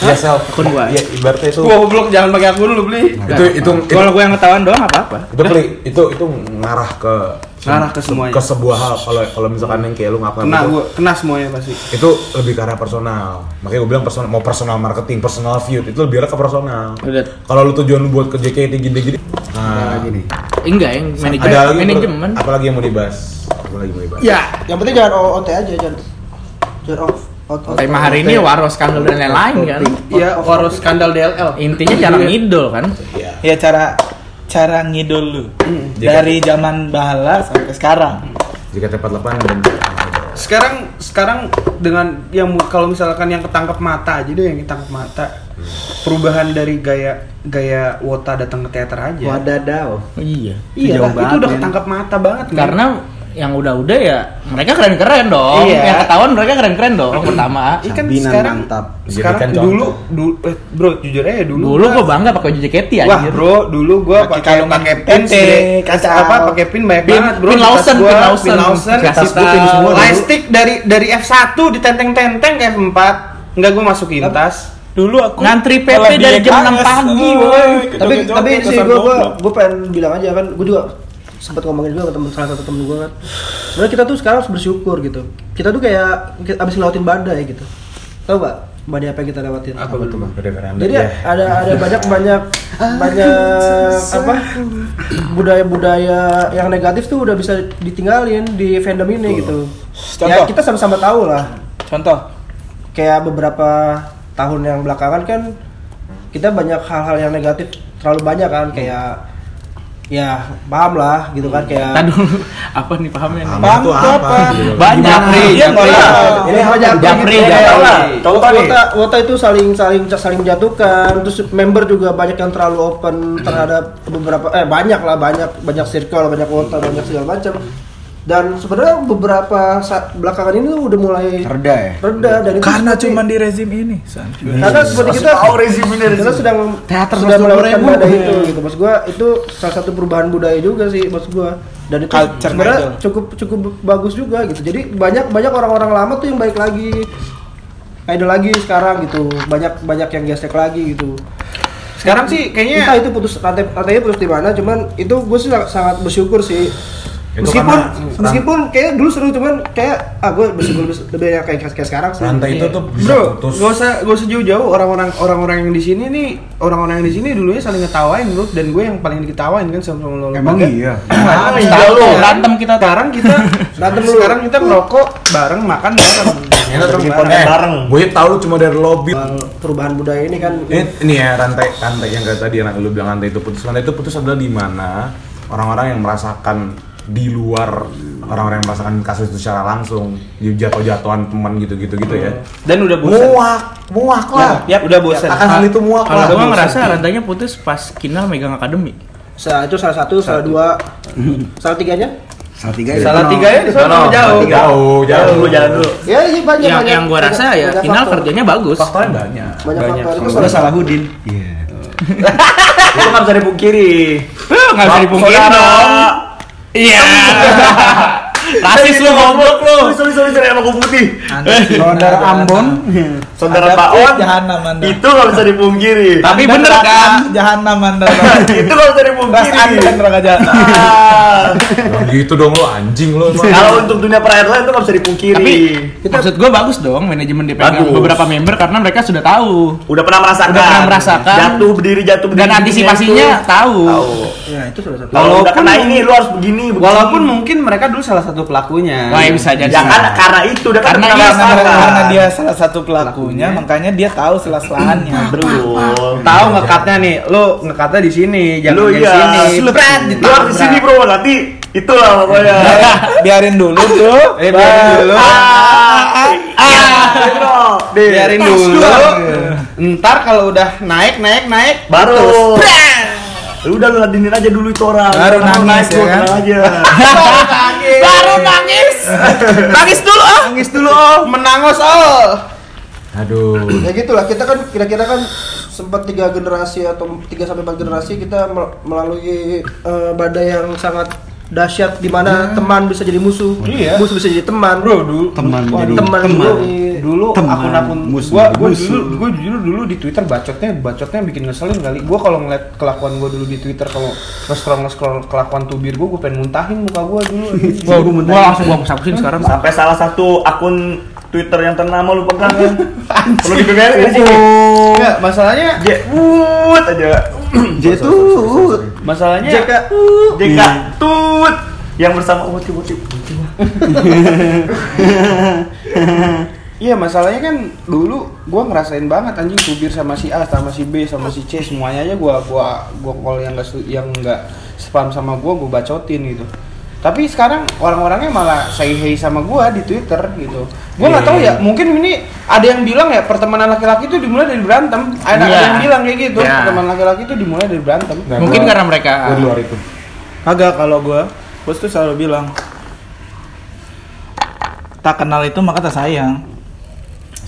Ya self.
Akun gua.
Ya ibaratnya itu.
Gua goblok jangan pakai aku dulu beli.
Itu itu itu
Kalau gue yang ketahuan doang apa apa.
itu beli itu itu ngarah ke
Ngarah ke semuanya.
ke sebuah hal kalau kalau misalkan yang kayak lu ngapain
Kena
gitu,
gua kena semuanya pasti.
itu lebih ke arah personal makanya gue bilang personal mau personal marketing personal feud itu lebih arah ke personal
Udah.
kalau lu tujuan lu buat ke JKT
Iya,
gini-gini nah,
Lagi nih.
Eh, Enggak yang manajemen.
ada lagi
manajemen.
apalagi yang mau dibahas apalagi yang mau dibahas
Ya.
Yang penting jangan OOT aja, jangan jangan off. out, out.
Tema hari ini ya waros kandel dan lain-lain kan.
Iya, harus skandal DLL.
Intinya cara ngidol kan.
Iya.
ya cara cara ngidol lu
Mm.
dari zaman bala sampai sekarang.
JKT48 dan
Sekarang sekarang dengan yang mu- kalau misalkan yang ketangkap mata aja deh yang ketangkap mata. Perubahan dari gaya gaya Wota datang ke teater aja.
Wadadaw.
Iya.
Iya, lah,
Jauh
itu
banget,
udah
men.
ketangkap mata banget men.
Karena yang udah-udah ya mereka keren-keren dong.
Iya.
Yang ketahuan mereka keren-keren dong pertama.
Iya kan
Sabinan
sekarang
mantap.
sekarang
Jadikan contoh.
dulu dulu eh, bro jujur aja dulu
Dulu
gua-
gue bangga pakai baju JKT
Wah
Iya, anjir.
bro, dulu gua
Pakai
pakai
kalung
pakai
PT,
pin sendiri.
kacau.
apa pakai pin banyak
Pin-
banget bro.
pin
di tas
Lawson,
gua,
pin Lawson.
pin Lawson.
Di tas
Tas
gua
gua.
pin semua dulu.
Lightstick dari dari F1 ditenteng-tenteng ke F4. Enggak gua masukin tas.
Dulu aku Oh,
Ngantri PP
LBKS.
dari jam 6 pagi, woy.
iya,
Tapi
kan
tapi ini sih gue gue gue pengen bilang aja kan, gue juga sempat ngomongin juga ke temen salah satu temen gue kan. Sebenarnya kita tuh sekarang harus bersyukur gitu. Kita tuh kayak abis ngelawatin badai gitu. Tahu gak?
badai apa yang kita lewatin
Apa Iya. tuh bang?
Kedengeran.
jadi
Ya.
ada ada banyak banyak banyak apa budaya-budaya yang negatif tuh udah bisa ditinggalin di fandom ini gitu. Ya
Contoh.
kita sama-sama tahu lah.
Contoh,
Kayak beberapa tahun yang belakangan kan kita banyak hal-hal yang negatif terlalu banyak kan kayak ya paham lah gitu kan kayak
Tadi dulu apa nih ya? pahamnya? nih?
Aman tuh
Bang, apa?
Banyak nih.
Iya,
Japri.
nggak
ini aja
Japri,
gitu.
Japri.
Kayak
Contoh
Wota,
nih.
Wota, Wota itu saling saling saling menjatuhkan terus member juga banyak yang terlalu open terhadap beberapa eh banyak lah banyak banyak circle banyak Wota banyak segala macam dan sebenarnya beberapa saat belakangan ini tuh udah mulai
Reda ya?
reda dan itu
Karena
seperti-
cuman di rezim ini, San.
karena seperti kita
Tahu rezim ini, rezim.
kita sedang
Teater
sudah
120.000.
melewatkan badai itu gitu maksud gua itu salah satu perubahan budaya juga sih maksud gua dan itu
Culture
sebenarnya
idol.
cukup cukup bagus juga gitu jadi banyak banyak orang-orang lama tuh yang baik lagi idol lagi sekarang gitu banyak banyak yang gesek lagi gitu
Sekarang sih
entah
kayaknya
itu putus rantai rantainya putus di mana cuman itu gue sih sangat, sangat bersyukur sih
Itu
meskipun
karena-
meskipun kayak dulu seru cuman kayak ah gue bersyukur lebih yang kayak kayak sekarang sih
rantai itu tuh bisa
Bro,
putus.
gak usah gak usah jauh-jauh orang-orang orang-orang yang di sini nih orang-orang yang di sini dulunya saling ngetawain bro dan gue yang paling diketawain kan sama lo
Emang iya.
Tahu lu,
Nah, sekarang-
rantem kita tuh.
sekarang kita rantem dulu. sekarang kita merokok bareng makan bareng
Iya,
Enak tuh.
Bikin
Eh,
konten bareng
Gue tahu lu cuma dari lobby.
Soal perubahan budaya ini kan
Ini, ini ya rantai rantai yang kayak tadi yang lu bilang rantai itu putus. Rantai itu putus adalah di mana orang-orang yang merasakan di luar orang-orang yang merasakan kasus itu secara langsung di jatuh-jatuhan teman gitu-gitu gitu ya
dan udah bosan
muak muak lah
ya udah bosan
akan hal itu muak
Kalau
lah
gua ngerasa rantainya putus pas Kinal megang akademi.
Sa- itu salah satu, salah dua, salah tiganya.
Salah tiga ya?
salah tiga ya di sana jauh
jauh
Oh, Jalan dulu,
jauh
jalan dulu.
Ya, iya banyak
Yang
banyak.
yang gua rasa ya
banyak
Kinal
faktor.
kerjanya bagus.
faktornya banyak
banyak, faktor itu
Udah
salah
salah Hudin. Iya.
Itu nggak bisa dipungkiri.
Huh, Eh, nggak bisa dipungkiri
Saudara.
dong. Iya. Rasis lu goblok lu.
Sorry, sorry, sorry, emang gue putih.
Eh.
Saudara Ambon.
Eh,
Saudara
Ada
Pak
pit
On,
jahanam Anda.
itu nggak bisa dipungkiri.
Tapi bener kan?
Jahanam Anda.
itu nggak bisa
Ras Anda
dipungkiri.
yang neraka jahanam.
Ah,
Jangan gitu dong lo anjing lo emang.
Kalau untuk dunia per airline itu nggak bisa dipungkiri.
Tapi maksud gue bagus dong manajemen dipegang
Bagus.
beberapa member karena mereka sudah tahu
udah pernah merasakan.
Udah pernah merasakan.
Jatuh berdiri, jatuh berdiri.
dan antisipasinya
Tahu.
tahu.
Ya, itu salah satu.
Kalau udah
Walaupun-
kena ini, lu harus begini. begini.
walaupun mungkin mereka dulu salah satu pelakunya
Wah, ya bisa jadi.
ya kan karena itu udah kan
Karena
pernah
iya,
Karena,
merasakan.
karena dia salah satu pelakunya, makanya dia tahu sela-selaannya.
Betul.
tahu ngekatnya nih lo ngekatnya di sini jangan
lu
di
iya.
sini
Lu
Pret,
lu harus di sini, Bro. Nanti itulah pokoknya. Iya,
Biarin dulu tuh.
eh, biarin dulu
Ah, bro. Deh.
biarin dulu ntar kalau udah naik naik naik
Baru. Lu udah lu ladenin aja dulu itu orang.
Baru
Karena lu
nangis,
naik,
ya kan?
lu tenang aja.
Baru nangis. nangis dulu ah.
nangis dulu oh menangos oh
aduh
Ya gitulah kita kan kira-kira kan sempat tiga generasi atau tiga sampai empat generasi kita mel- melalui eh, badai yang sangat dahsyat di mana teman bisa jadi musuh,
Iya.
musuh bisa jadi teman,
bro dulu
Teman
Waduh,
jadi
teman
teman.
dulu, dulu
Teman.
akun-akun
Musuh
gua
jadi
gua
musuh.
dulu gua jujur dulu di Twitter bacotnya bacotnya bikin ngeselin kali gua kalau ngeliat kelakuan gua dulu di Twitter kalau nge-scroll nge-scroll kelakuan tubir gua gua pengen muntahin muka gua dulu
Gua, gua langsung gua sapusin sekarang.
Sampai salah satu akun Twitter yang ternama lu pegang kan. Perlu dipegang
Enggak, masalahnya
Jek, wut aja.
Jadi tuh.
Masalahnya
JK.
JK tut yang bersama oh, Uti Uti.
iya masalahnya kan dulu gua ngerasain banget anjing tubir sama si A sama si B sama si C semuanya aja gua gua gua kalau yang enggak yang enggak sepaham sama gua gua bacotin gitu. Tapi sekarang orang-orangnya malah say hey sama gua di Twitter gitu. Gua nggak tahu
Iya.
ya, mungkin ini ada yang bilang ya pertemanan laki-laki itu dimulai dari berantem. Ada, ada
Iya.
yang bilang kayak gitu,
Iya.
pertemanan laki-laki itu dimulai dari berantem.
Mungkin karena mereka
Nah, Gua di luar itu
Kagak kalau gua, bos tuh selalu bilang tak kenal itu maka tak sayang.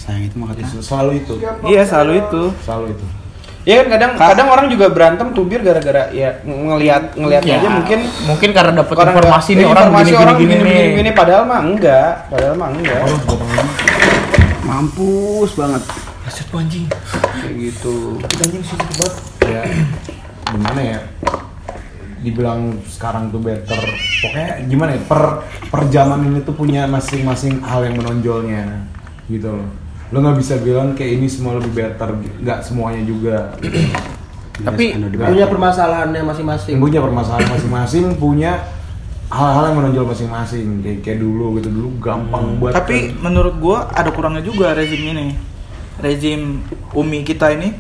Sayang itu mah kata.
selalu itu
Iya selalu itu.
selalu itu
Ya kan kadang kadang orang juga berantem tubir gara-gara ya ng- ngelihat ngelihat
Ya,
aja mungkin
mungkin karena dapat
orang
informasi
nggak-
nih
eh,
orang
informasi
gini gini gini, nih.
gini, padahal mah enggak, padahal mah enggak.
Mampus banget.
Kayak gitu.
ya gimana ya dibilang sekarang tuh better pokoknya gimana ya per per zaman ini tuh punya masing-masing hal yang menonjolnya gitu loh lo nggak bisa bilang kayak ini semua lebih better nggak semuanya juga
Tapi-
Nggak.
punya
punya permasalahannya masing-masing
punya permasalahan masing-masing punya hal-hal yang menonjol masing-masing kayak, kayak dulu gitu dulu gampang buat
Tapi menurut gua ada kurangnya juga rezim ini. Rezim Umi kita ini.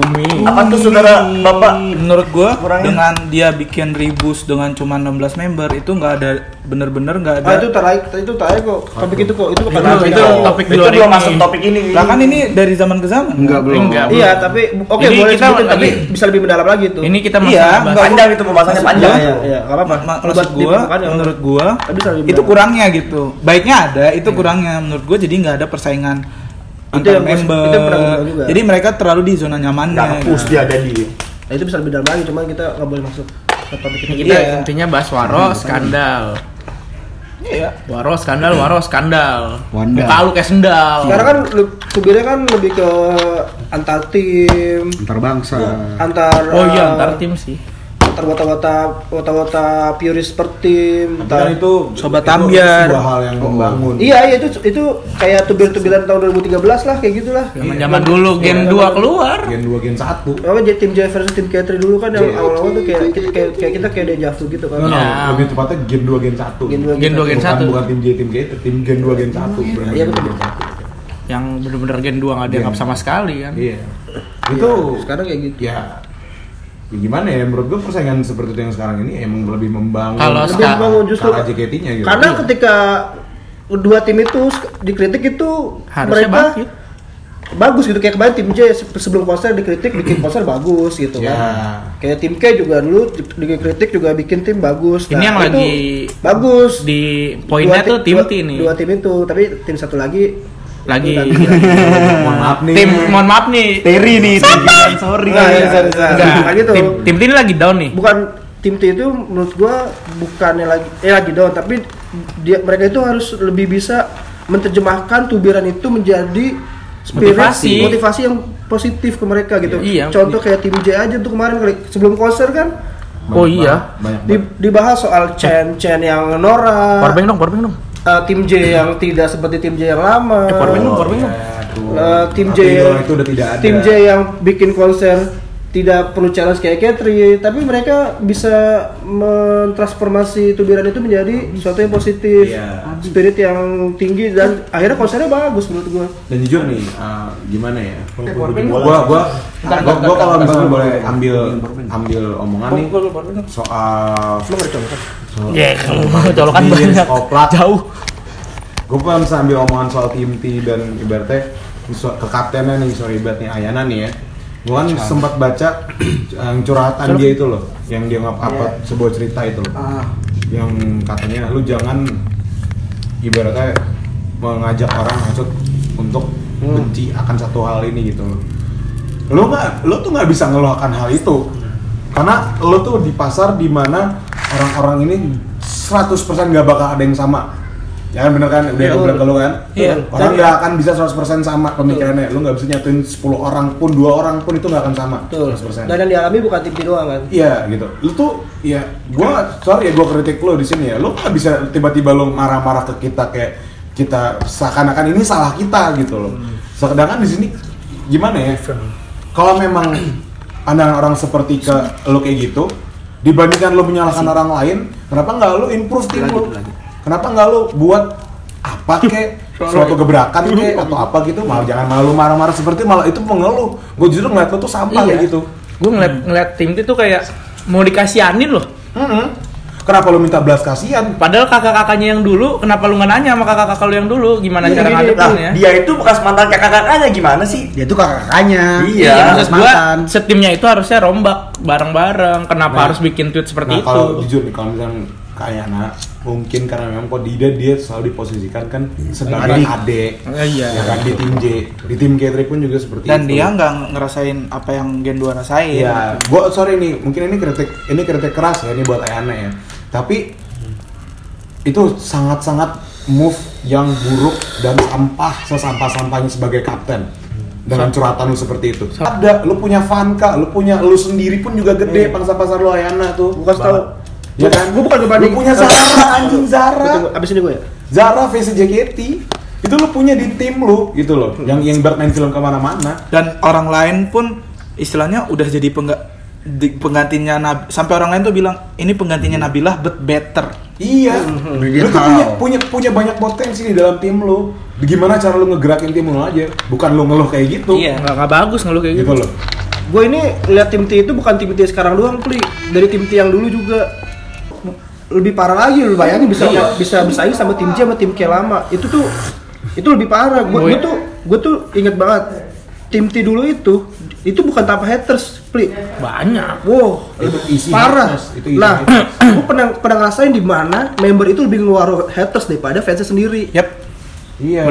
Umi.
Apa tuh saudara bapak?
Menurut gua
Kurangnya?
dengan dia bikin ribus dengan cuma 16 member itu nggak ada bener-bener nggak ada.
Ah, itu terakhir itu terakhir kok. Iya, Topik itu kok. Itu bukan
Itu, Nah, itu topik di
Itu
luar
belum
ini.
masuk topik ini.
Lah kan ini dari zaman ke zaman.
Enggak belum.
Enggak,
Iya,
belum.
tapi oke
Ini
boleh
kita
sebutin, tapi
lagi-
bisa lebih mendalam lagi tuh.
Ini kita
Iya,
masalah bahas-
enggak.
Panjang itu pembahasannya panjang.
Iya, iya, enggak apa-apa.
Ma- ma- maksud
Buat
gua,
dibukakan ya.
menurut gua
Tapi bisa lebih
itu
benar.
kurangnya gitu. Baiknya ada, itu kurangnya menurut gua jadi nggak ada persaingan
Itu
antar
yang gua- itu
member.
yang pernah gua bilang juga.
Jadi mereka terlalu di zona nyamannya. gitu.
Kampus dia ada di.
Nah, itu bisa lebih dalam lagi, cuman kita nggak boleh masuk ke topik ini.
Kita
Iya.
intinya bahas waro skandal.
Iya.
Waro skandal, waro skandal.
Wanda.
Muka lu kayak sendal.
Sekarang kan lu- kubirnya kan lebih ke antar tim,
antar bangsa.
antar
Oh iya,
eh,
antar tim sih.
antar wata-wata wata-wata purist per tim.
Tapi kan
Antar,
itu
Sobat
itu
Ambiar.
sebuah hal yang membangun
iya, iya itu itu kayak tubir-tubiran tahun 2013 lah kayak gitulah.
Zaman-zaman dulu gen 2 keluar.
gen 2 gen 1
Apa jadi tim Joy versus tim K3 dulu kan yang awal-awal tuh kayak kita kayak, kayak kita kayak deja vu gitu
No, no,
Iya.
kan.
Nah, lebih tepatnya gen 2 gen 1
Gen dua,
Gen 2 gen
bukan,
1
bukan tim J tim G tim gen 2 gen 1 berarti
Iya,
gen
betul.
1.
yang bener-bener gen 2 enggak dianggap
Gen.
sama sekali kan.
Iya. Itu
Sekarang kayak gitu.
ya, ya gimana ya menurut gue persaingan seperti itu yang sekarang ini emang lebih membangun
Kalau
lebih
sekarang-
membangun justru cara JKT-nya gitu.
Karena ketika kedua tim itu sk- dikritik itu
Harusnya
mereka
bangkit.
bagus gitu kayak kemarin tim J se- sebelum konser dikritik
Hmm.
bikin konser bagus gitu
Ya.
Iya.
kan. Kayak tim K juga dulu di- dikritik juga bikin tim bagus. Nah,
Ini yang
itu
lagi
bagus.
di poinnya
Dua
tuh
ti-
tim
dua-
T nih.
Dua tim itu, tapi tim satu lagi Nah, iya,
Lagi
itu tadi.
mohon maaf nih.
tim mohon maaf nih.
Teri nih, Teri. sorry.
Nah, iya, sorry, sorry.
Enggak,
Bukan gitu.
tim tim T ini lagi down nih.
bukan tim T itu menurut gua bukannya lagi eh lagi down tapi dia mereka itu harus lebih bisa menerjemahkan tubiran itu menjadi spirit
Motivasi.
motivasi yang positif ke mereka gitu.
Iya.
Contoh kayak tim J aja tuh kemarin kali- sebelum konser kan
Oh iya.
Banyak
di- dibahas soal Chen Chen yang Nora,
Powerbank dong, powerbank dong.
eh, tim J yang tidak seperti tim J yang lama.
Powerbank dong,
Oh,
powerbank dong.
ya, tuh.
Eh, tim J
Tapi idola itu udah tidak ada.
tim J yang bikin konser tidak perlu challenge kayak Katri tapi mereka bisa mentransformasi tubiran itu menjadi sesuatu yang positif
Iya.
spirit yang tinggi dan akhirnya konsernya bagus menurut gua
dan jujur nih eh, gimana ya gua gua gua gua kalau misalnya boleh ambil ambil omongan nih soal soal
Ya, kalau mau colokan
Iya,
banyak.
koplat.
Jauh.
gue pernah bisa ambil omongan soal tim T dan ibaratnya so- ke kaptennya nih soal ibaratnya Ayana nih ya gue kan
Iya.
sempat baca yang curhatan dia itu loh yang dia ngap apa
Iya.
sebuah cerita itu loh yang katanya lu jangan ibaratnya mengajak orang maksud untuk
Hmm.
benci akan satu hal ini gitu loh lo nggak lo tuh nggak bisa ngeluarkan hal itu karena lo tuh di pasar di mana orang-orang ini 100% nggak bakal ada yang sama ya kan bener kan udah gue bilang ke lo kan
Iya.
orang nggak akan bisa 100% sama pemikirannya lo nggak bisa nyatuin 10 orang pun dua orang pun itu nggak akan sama
betul
100%
dan yang dialami bukan tim J doang kan
Iya gitu. Lu tuh ya gua sorry ya gua kritik lu di sini ya. Lu nggak bisa tiba-tiba lu marah-marah ke kita kayak kita seakan-akan ini salah kita gitu loh. Sedangkan di sini gimana ya? Kalau memang pandangan orang seperti ke lu kayak gitu dibandingkan lu menyalahkan orang lain, kenapa nggak lu improve tim lu? Kenapa nggak lu buat apa kek suatu gebrakan kek atau apa gitu malah jangan malu marah-marah seperti itu, malah itu mengeluh gue justru ngeliat lu tuh sampah
Iya.
kayak gitu
Gue ngeliat ngeliat tim T tuh kayak mau dikasihanin loh.
Mm-mm. Kenapa lu minta belas kasihan?
Padahal kakak-kakaknya yang dulu, kenapa lu nggak nanya sama kakak-kakak lu yang dulu gimana
Iya,
cara
iya, iya.
Nah,
ngadepinnya?
dia itu bekas mantan kakak-kakaknya gimana sih?
Dia tuh kakak-kakaknya.
Iya,
maksud gua
mantan.
setimnya itu harusnya rombak bareng-bareng. Kenapa
Nah,
harus bikin tweet seperti
Nah, kalau
itu?
jujur nih, kalau misalnya kayak anak mungkin karena memang kok Dida dia selalu diposisikan kan
Iya.
sebagai
Adik.
adik.
Eh, iya.
Ya kan di tim J, di tim K3 pun juga seperti
Dan
itu.
dia nggak ngerasain apa yang Gen 2 rasain.
Gitu. Iya, gua sorry nih, mungkin ini kritik ini kritik keras ya ini buat Ayana ya. Tapi itu sangat-sangat move yang buruk dan sampah sesampah-sampahnya sebagai kapten dengan curhatan lu seperti itu. Ada, lu punya Vanka, lu punya lu sendiri pun juga gede pangsa pasar lu Ayana tuh.
bukan tahu
Ya kan?
Gua bukan
Lu
ngebanding.
punya Zara, anjing Zara.
abis ini gua ya
Zara versi JKT. itu lu punya di tim lu gitu loh yang yang ibarat main film kemana-mana
dan orang lain pun istilahnya udah jadi pengga- di- penggantinya Nab- sampai orang lain tuh bilang ini penggantinya Nabilah but better
Iya. Lu tuh punya, punya punya banyak potensi di dalam tim lu. Gimana cara lu ngegerakin tim lu aja? Bukan lu ngeluh kayak gitu.
Iya, nggak nggak bagus ngeluh kayak gitu.
Gitu loh.
Gue ini lihat tim T itu bukan tim T sekarang doang, Pli. Dari tim T yang dulu juga.
lebih parah lagi lu bayangin bisa
Iya.
bisa bersaing sama tim J sama tim K lama itu tuh itu lebih parah gue
Boy.
tuh gue tuh inget banget tim T dulu itu itu bukan tanpa haters pli
Banyak.
wow
Itu isi
parah
haters, itu isi
nah
haters.
gue pernah pernah ngerasain di mana member itu lebih ngeluarin haters daripada fansnya sendiri
yep
Iya.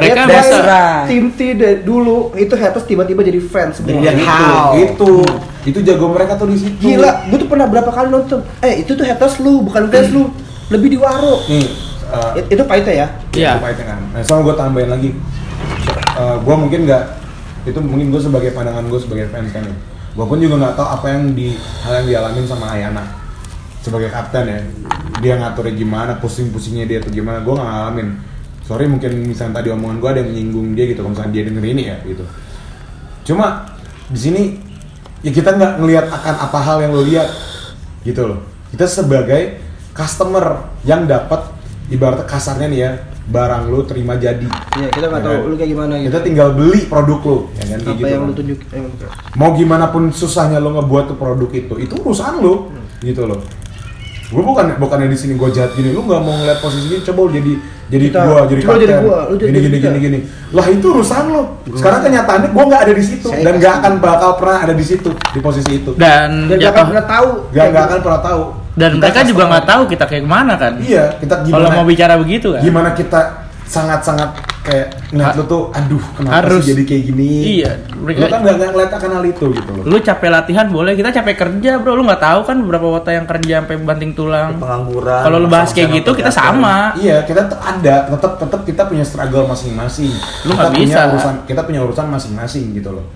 Ya, Mereka
That's
biasa.
why tim T da- dulu itu haters tiba-tiba jadi fans semua.
Iya, gitu. Itu itu jago mereka tuh di situ.
gila gue tuh pernah berapa kali nonton eh itu tuh haters lu bukan fans lu lebih di waro
Nih, eh,
It- itu pahitnya ya
Iya.
Itu pahitnya kan. Nah, sama gue tambahin lagi. Eh, gue mungkin nggak itu mungkin gue sebagai pandangan gue sebagai fans kan ya. Gue pun juga nggak tahu apa yang di hal yang dialamin sama Ayana sebagai kapten ya. Dia ngaturnya gimana, pusing-pusingnya dia tuh gimana. Gue nggak ngalamin. Sorry mungkin misalnya tadi omongan gue ada yang menyinggung dia gitu, kalau misalnya dia denger ini ya gitu. Cuma di sini ya kita nggak ngelihat akan apa hal yang lo lihat gitu loh. Kita sebagai customer yang dapat ibaratnya kasarnya nih ya barang lo terima jadi.
Iya, kita nggak
Ya
tahu
kan?
lu kayak gimana gitu.
Kita tinggal beli produk lo, ya kan? Kayak
apa
gitu
yang
kan.
lu tunjuk eh, enggak.
Mau gimana pun susahnya lo ngebuat tuh produk itu, itu urusan lo,
Hmm.
gitu loh. Gue bukan bukannya di sini gue jahat gini, lu nggak mau ngeliat posisinya coba lu jadi jadi
Kita-
gua jadi
coba jadi
kapten,
gua, lu jadi-
gini gini
jadi
gini
kita.
gini. Lah itu urusan lo. Sekarang kenyataannya gue nggak ada di situ
Saya
dan
kasih.
nggak akan bakal pernah ada di situ di posisi itu.
Dan
dan nggak akan
jatuh-
pernah tahu gitu.
Gak nggak akan pernah tahu.
dan
Kita
mereka juga
customer.
nggak tahu kita kayak kemana kan.
Iya, kita gimana?
Kalau mau bicara begitu kan.
Gimana kita sangat-sangat kayak ngeliat lu tuh, aduh kenapa
Ah. Harus.
sih jadi kayak gini?
Iya,
Lu
mereka-
kan nggak nggak ngeliat akan hal itu gitu loh.
Lu capek latihan boleh, kita capek kerja, Bro. Lu nggak tahu kan berapa wota yang kerja sampai banting tulang.
Pengangguran.
Kalau lu bahas kayak
sama-sama
gitu kita
pekerjaan.
sama.
Iya, kita tetap ada, tetap tetap kita punya struggle masing-masing.
Lu
Kita
nggak
punya
bisa.
urusan, kita punya urusan masing-masing gitu loh.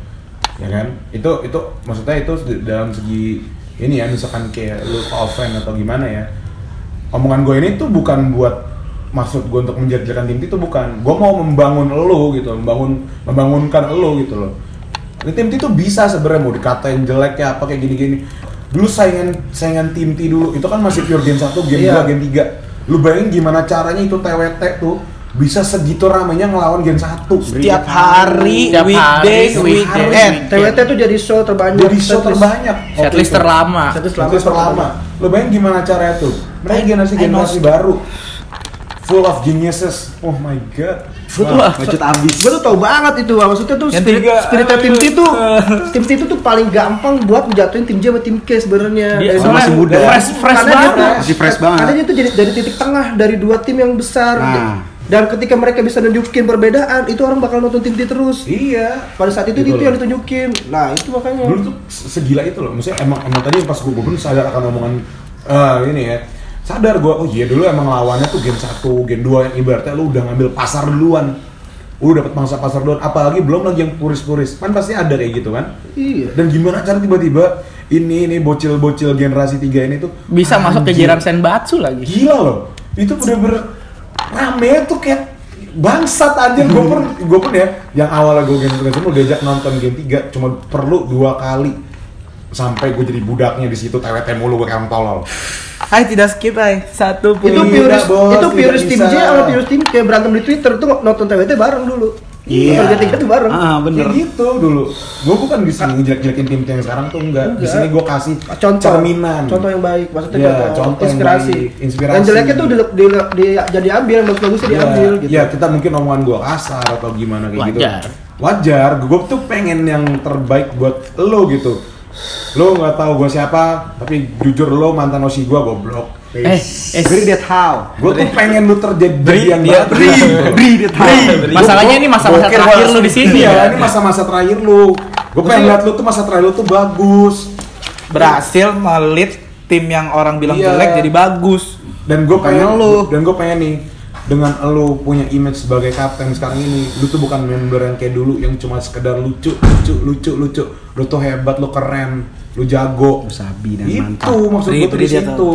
Ya kan? Itu itu maksudnya itu di- dalam segi ini ya, misalkan kayak lu offend atau gimana ya. Omongan gue ini tuh bukan buat maksud gue untuk menjadikan tim itu bukan. Gue mau membangun lo gitu, membangun membangunkan lo gitu loh. Ini tim T tuh bisa sebenarnya mau dikatain jelek ya apa kayak gini-gini. Dulu saingan saingan tim T dulu itu kan masih pure game 1, game
Iya.
2, game 3. Lu bayangin gimana caranya itu TWT tuh bisa segitu ramainya ngelawan game 1.
tiap hari
Tiap
weekdays
hari,
weekend
weekend.
TWT tuh jadi show terbanyak
Jadi show
setlist.
terbanyak. waktu
Setlist
itu.
terlama.
Setlist lama.
Setlist terlama. Lu bayangin gimana caranya tuh. Mereka
I-
generasi
I
generasi
know.
baru. Full of geniuses. Oh my god. Wah.
Ngecut abis.
gue tuh tau banget itu maksudnya tuh
Yang
spirit
tiga,
spiritnya tim T tuh tim T itu tuh paling gampang buat menjatuhin tim J sama tim K sebenarnya
Dia
Eh,
Sama
Iya, soalnya
masih muda.
Fresh fresh
Karena dia
banget.
tuh-
Masih fresh banget.
karena dia tuh jadi dari titik tengah dari dua tim yang besar
Nah.
dan ketika mereka bisa nunjukin perbedaan itu orang bakal nonton tim T terus
Iya.
pada saat itu
Gitu
itu
loh.
yang ditunjukin nah itu makanya
dulu tuh se- segila itu loh maksudnya emang emang tadi pas gue pun sadar akan omongan eh, ini ya sadar gue oh iya dulu emang lawannya tuh game 1, game 2 yang ibaratnya lu udah ngambil pasar duluan lu dapat mangsa pasar duluan apalagi belum lagi yang puris-puris kan pasti ada kayak gitu kan
Iya.
dan gimana cara tiba-tiba ini ini bocil-bocil generasi 3 ini tuh
Bisa masuk ke
anjir,
jeram senbatsu lagi.
gila loh itu bener-bener rame tuh kayak bangsat anjir gue pun gue pun ya yang awalnya gue game tiga semua diajak nonton game 3 cuma perlu dua kali sampai gue jadi budaknya di situ TWT mulu gue kayak orang tolol
Hai tidak skip hai satu pun
itu
Tidak,
purist
Bos,
itu
tidak
purist tim J
bisa.
sama purist tim kayak berantem di Twitter tuh nonton TWT bareng dulu
Iya.
Nonton tiga tuh bareng
Ah, bener.
kayak gitu dulu gue bukan di sini ngejelek-jelekin tim yang sekarang tuh enggak di sini gue kasih
contoh
cerminan
contoh yang baik maksudnya
Iya,
contoh,
contoh yang
inspirasi
baik, inspirasi.
yang jeleknya tuh di, di, di- jadi ambil yang bagus-bagusnya
ya,
diambil gitu
ya, kita mungkin omongan gue kasar atau gimana kayak gitu
Wajar.
wajar gue tuh pengen yang terbaik buat lo gitu lo nggak tahu gue siapa tapi jujur lo mantan osi gue goblok
Eh, eh
Beri that how.
gue tuh pengen lu terjadi jadi yang
dia-
bagus.
Beri that how.
masalahnya ini iya, masa-masa
Bokir
terakhir
banget.
lu di sini. ya.
Iya, ini masa-masa terakhir lu. Gue pengen liat lu tuh masa terakhir lu tuh bagus.
berhasil melit tim yang orang bilang
Iya.
jelek jadi bagus
Dan gue
Makanya
pengen
lu.
Dan gue pengen nih dengan lu punya image sebagai kapten sekarang ini, lu tuh bukan member yang kayak dulu yang cuma sekedar lucu, lucu, lucu, lucu. Lu tuh hebat, lu keren, lu jago.
Sabi dan
Itu
mantap.
maksud gue tuh
Beri- beri
di
dia
situ.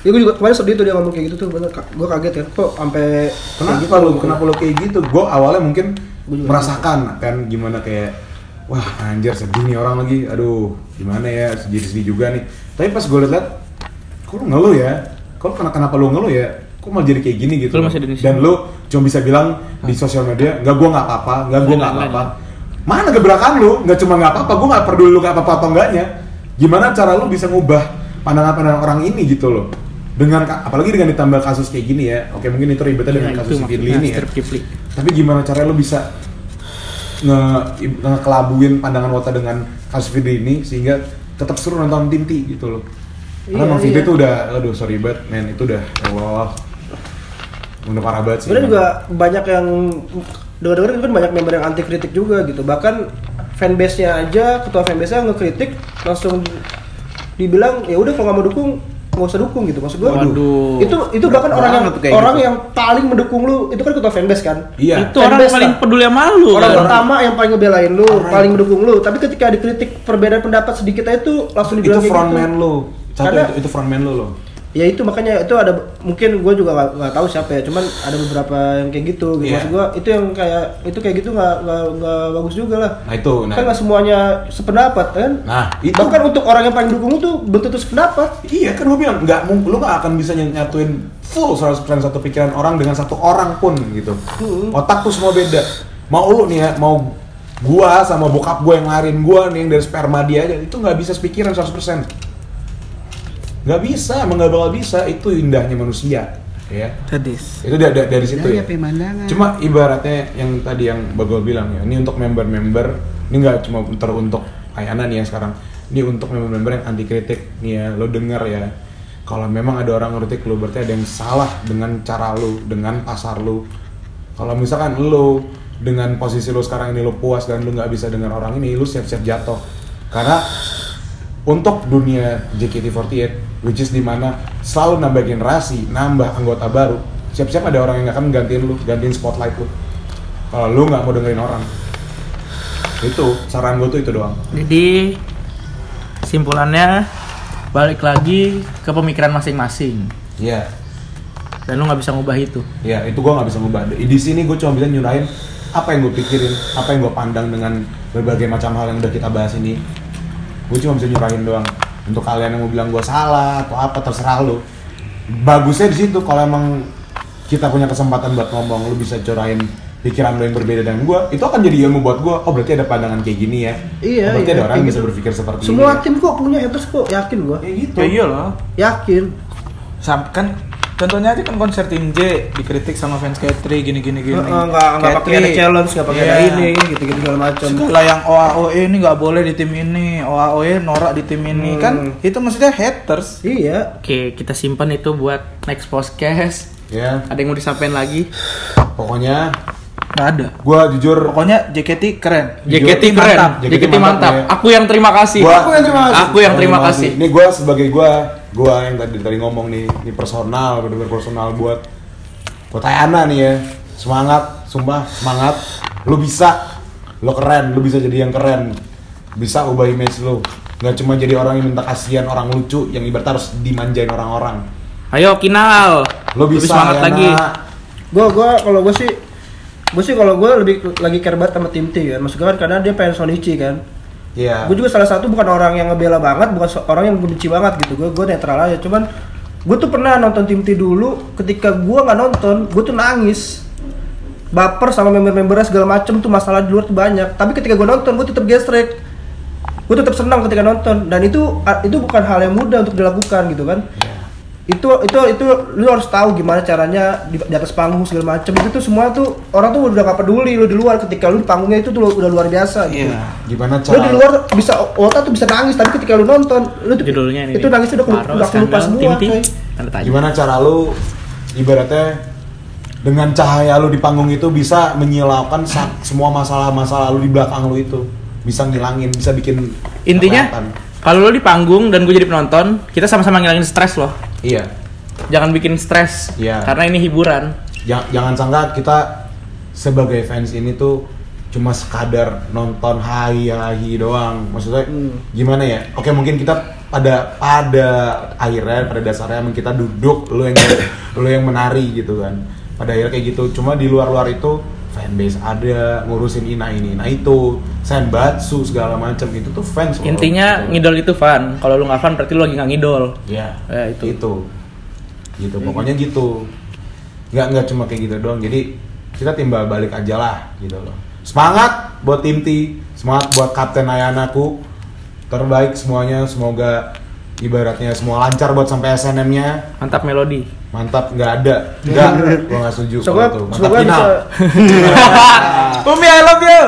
Ya gue juga kemarin sedih tuh dia ngomong kayak gitu tuh, bener. Ka- Gue kaget ya, kok sampai kayak
Kenapa
gitu?
lu? Kenapa lu kayak gitu? Gue awalnya mungkin merasakan kan gimana kayak wah anjir sedih nih orang lagi. Aduh, gimana ya? Jadi sedih juga nih. Tapi pas gue liat, kok lu ngeluh ya? Kok kenapa kenapa lu ngeluh ya? Kok malah jadi kayak gini gitu?
Lu masih di Indonesia.
Dan lu cuma bisa bilang di sosial media, nggak gua nggak apa-apa, nggak gua nggak apa-apa. Mana gebrakan lu? Nggak cuma nggak apa-apa, gua nggak peduli lu nggak apa-apa atau enggaknya. Gimana cara lu bisa ngubah pandangan-pandangan orang ini gitu loh? Dengan ka- apalagi dengan ditambah kasus kayak gini ya. Oke, mungkin itu ribetnya dengan kasus si Firly ini ya.
gitu.
Tapi gimana caranya lu bisa nge ngekelabuin pandangan Wota dengan kasus Firly ini sehingga tetap seru nonton Tinti gitu loh. Karena
Iya,
emang Firly
iya.
tuh udah, aduh sorry banget men, itu udah, ya Allah Udah parah banget sih
Sebenarnya juga banyak yang dengar-dengar kan banyak member yang anti kritik juga gitu. Bahkan fanbase-nya aja ketua fanbase-nya ngekritik langsung dibilang ya udah kalau nggak mau dukung nggak usah dukung gitu maksud gua.
Waduh.
Itu itu bahkan
Berat
orang yang
banget tuh kayak
orang
gitu.
yang paling mendukung lu itu kan ketua fanbase kan.
Iya.
Itu orang
Fanbase
paling
lah.
peduli sama lu.
Orang
kan?
pertama yang paling ngebelain lu, paling mendukung lu. Tapi ketika dikritik perbedaan pendapat sedikit aja itu langsung
itu
dibilang kayak
frontman
gitu.
lu satu
Karena-
itu, itu frontman lu loh
ya itu makanya itu ada mungkin gue juga nggak- nggak tahu siapa ya cuman ada beberapa yang kayak gitu gitu
Iya.
maksud gue itu yang kayak itu kayak gitu nggak nggak nggak bagus juga lah
nah itu nah,
kan nggak semuanya sependapat kan
nah itu
bahkan untuk orang yang paling dukung itu belum tentu sependapat
iya kan gua bilang nggak mung- lu nggak akan bisa ny- nyatuin full 100% satu pikiran orang dengan satu orang pun gitu otak tuh semua beda mau lu nih ya mau gua sama bokap gua yang ngelarin gua nih yang dari sperma dia aja itu nggak bisa sepikiran 100% nggak bisa emang nggak bakal bisa itu indahnya manusia ya
Tadis.
itu dari, dari situ ya
pemandangan.
Cuma ibaratnya yang tadi yang Bagol bilang ya, ini untuk member-member, ini nggak cuma teruntuk Ayana nih yang sekarang. Ini untuk member-member yang anti kritik nih ya, lo denger ya. Kalau memang ada orang ngeritik lo, berarti ada yang salah dengan cara lo, dengan pasar lo. Kalau misalkan lo dengan posisi lo sekarang ini lo puas dan lo nggak bisa dengar orang ini, lo siap-siap jatuh. Karena untuk dunia JKT48, which is dimana selalu nambah generasi, nambah anggota baru, siap-siap ada orang yang akan gantiin lu, gantiin spotlight lu. Kalau lu nggak mau dengerin orang, itu saran gue tuh itu doang.
Jadi simpulannya balik lagi ke pemikiran masing-masing
Iya,
dan lu nggak bisa ngubah itu.
iya itu gue nggak bisa ngubah. Di sini gue cuma bisa nyurahin apa yang gue pikirin, apa yang gue pandang dengan berbagai macam hal yang udah kita bahas ini. Gue cuma bisa nyurahin doang. Untuk kalian yang mau bilang gue salah atau apa terserah lu. Bagusnya di situ kalau emang kita punya kesempatan buat ngomong, lu bisa curahin pikiran lu yang berbeda dengan gue, itu akan jadi ilmu buat gue. Oh berarti ada pandangan kayak gini ya.
Iya,
Oh, Berarti
iya,
ada orang
kayak
yang bisa
gitu.
berpikir seperti
semua
ini. ya?
tim kok punya haters kok yakin gue
Kayak gitu.
Ya iyalah.
yakin
Sam kan contohnya aja kan konser tim J dikritik sama fans Katri gini gini
Iya.
gini.
Eh, eh, nggak nggak pakai ada challenge nggak pakai ada
Iya.
ini gitu gitu segala macam
Segala yang OAOE E ini nggak boleh di tim ini, OAOE E norak di tim ini kan
Hmm.
itu maksudnya haters.
iya
Oke, kita simpan itu buat next podcast.
Ya,
Ada yang mau disampaikan lagi?
pokoknya
Nggak ada.
gue jujur
Pokoknya JKT keren.
JKT
Mantap.
keren,
JKT
JKT mantap.
mantap, ya.
Aku yang terima kasih.
Gua-
Aku yang terima kasih. Aku yang terima kasih.
Ini gue sebagai gue, gue yang tadi tadi ngomong nih, ini personal, bener personal buat buat Ayana nih ya. Semangat, sumpah semangat. Lu bisa, lu keren, lu bisa jadi yang keren. Bisa ubah image lu. Gak cuma jadi orang yang minta kasihan, orang lucu, yang ibarat harus dimanjain orang-orang.
Ayo Kinal.
Lu
Lebih
bisa, ya,
semangat
Ayana.
lagi.
gue gue kalau gue sih gue sih kalau gue lebih lagi care banget sama tim T kan maksud gue kan karena dia pengen Sonichi kan
Iya.
gue juga salah satu bukan orang yang ngebela banget bukan so- orang yang gue benci banget gitu gue gue netral aja cuman gue tuh pernah nonton tim T dulu ketika gue nggak nonton gue tuh nangis baper sama member-membernya segala macem tuh masalah di luar tuh banyak tapi ketika gue nonton gue tetap gesrek gue tetap senang ketika nonton dan itu itu bukan hal yang mudah untuk dilakukan gitu kan itu itu itu lu harus tahu gimana caranya di, di atas panggung segala macem itu tuh semua tuh orang tuh udah gak peduli lu di luar ketika lu di panggungnya itu tuh lu- udah luar biasa gitu lu
Gimana cara
di luar bisa otak tuh bisa nangis tapi ketika lu nonton lu tuh-
Judulnya ini.
itu
nih.
nangisnya udah kelu-
Paro,
udah kelupas
Skandal,
semua
Tinti.
coy.
Tanda tanya.
Gimana cara lu ibaratnya dengan cahaya lu di panggung itu bisa menyilaukan sa- semua masalah-masalah lu di belakang lu itu bisa ngilangin, bisa bikin
Intinya
kelihatan.
kalau lu di panggung dan gue jadi penonton, kita sama-sama ngilangin stres loh.
iya.
Jangan bikin stres.
Iya.
Karena ini hiburan.
Ja- jangan sangka kita sebagai fans ini tuh cuma sekadar nonton hai hai doang maksudnya gimana ya oke mungkin kita pada pada akhirnya pada dasarnya emang kita duduk lu yang lu yang menari gitu kan pada akhirnya kayak gitu cuma di luar luar itu fanbase ada ngurusin ina ini nah itu senbatsu segala macam itu tuh fans loh.
Intinya
Gitu.
ngidol itu fun. Kalau lu nggak fun berarti lu lagi nggak ngidol.
Ya,
Ya, itu.
itu. Gitu. pokoknya gitu. Nggak nggak cuma kayak gitu doang. Jadi kita timbal balik aja lah gitu loh. Semangat buat tim T, semangat buat kapten Ayanaku. Terbaik semuanya, semoga ibaratnya semua lancar buat sampai SNM-nya.
Mantap melodi.
Mantap nggak ada. Enggak, gua nggak setuju
Semoga,
kalau itu. Mantap
semoga
final.
bisa
Umi I love you.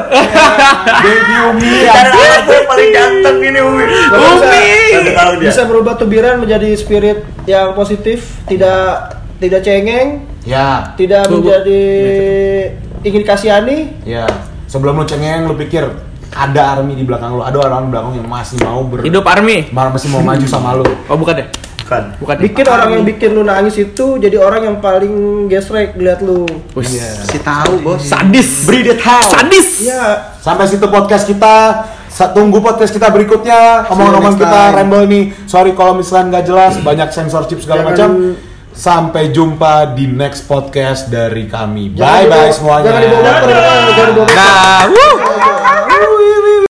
Baby Umi.
Karena anak gue paling ganteng ini Umi.
Umi!
Gak tahu dia.
bisa berubah tubiran menjadi spirit yang positif, tidak tidak cengeng,
Ya,
tidak menjadi
Iya,
ingin kasihani.
ya. Sebelum lu cengeng lu pikir ada army di belakang lu, ada orang di belakang yang masih mau ber
Hidup army.
malah masih mau maju sama lu.
Oh bukan ya?
Kan?
Bukan.
Bukan. ya?
Bikin orang yang bikin lu nangis itu jadi orang yang paling gesrek lihat lu.
Wih,
Iya.
Si tahu bos.
Sadis.
Breed it how.
Sadis.
Iya,
Sampai situ podcast kita. Sa- Tunggu podcast kita berikutnya. Omongan-omongan
See you next
kita
time.
rembel nih. Sorry kalau misalkan nggak jelas, banyak censorship
Hmm.
segala
Jangan-
macam. Sampai jumpa di next podcast dari kami.
Jangan
Bye bye
dibawa-
semuanya.
Jangan dibawa motor, jangan dibawa motor.
Nah, wuh.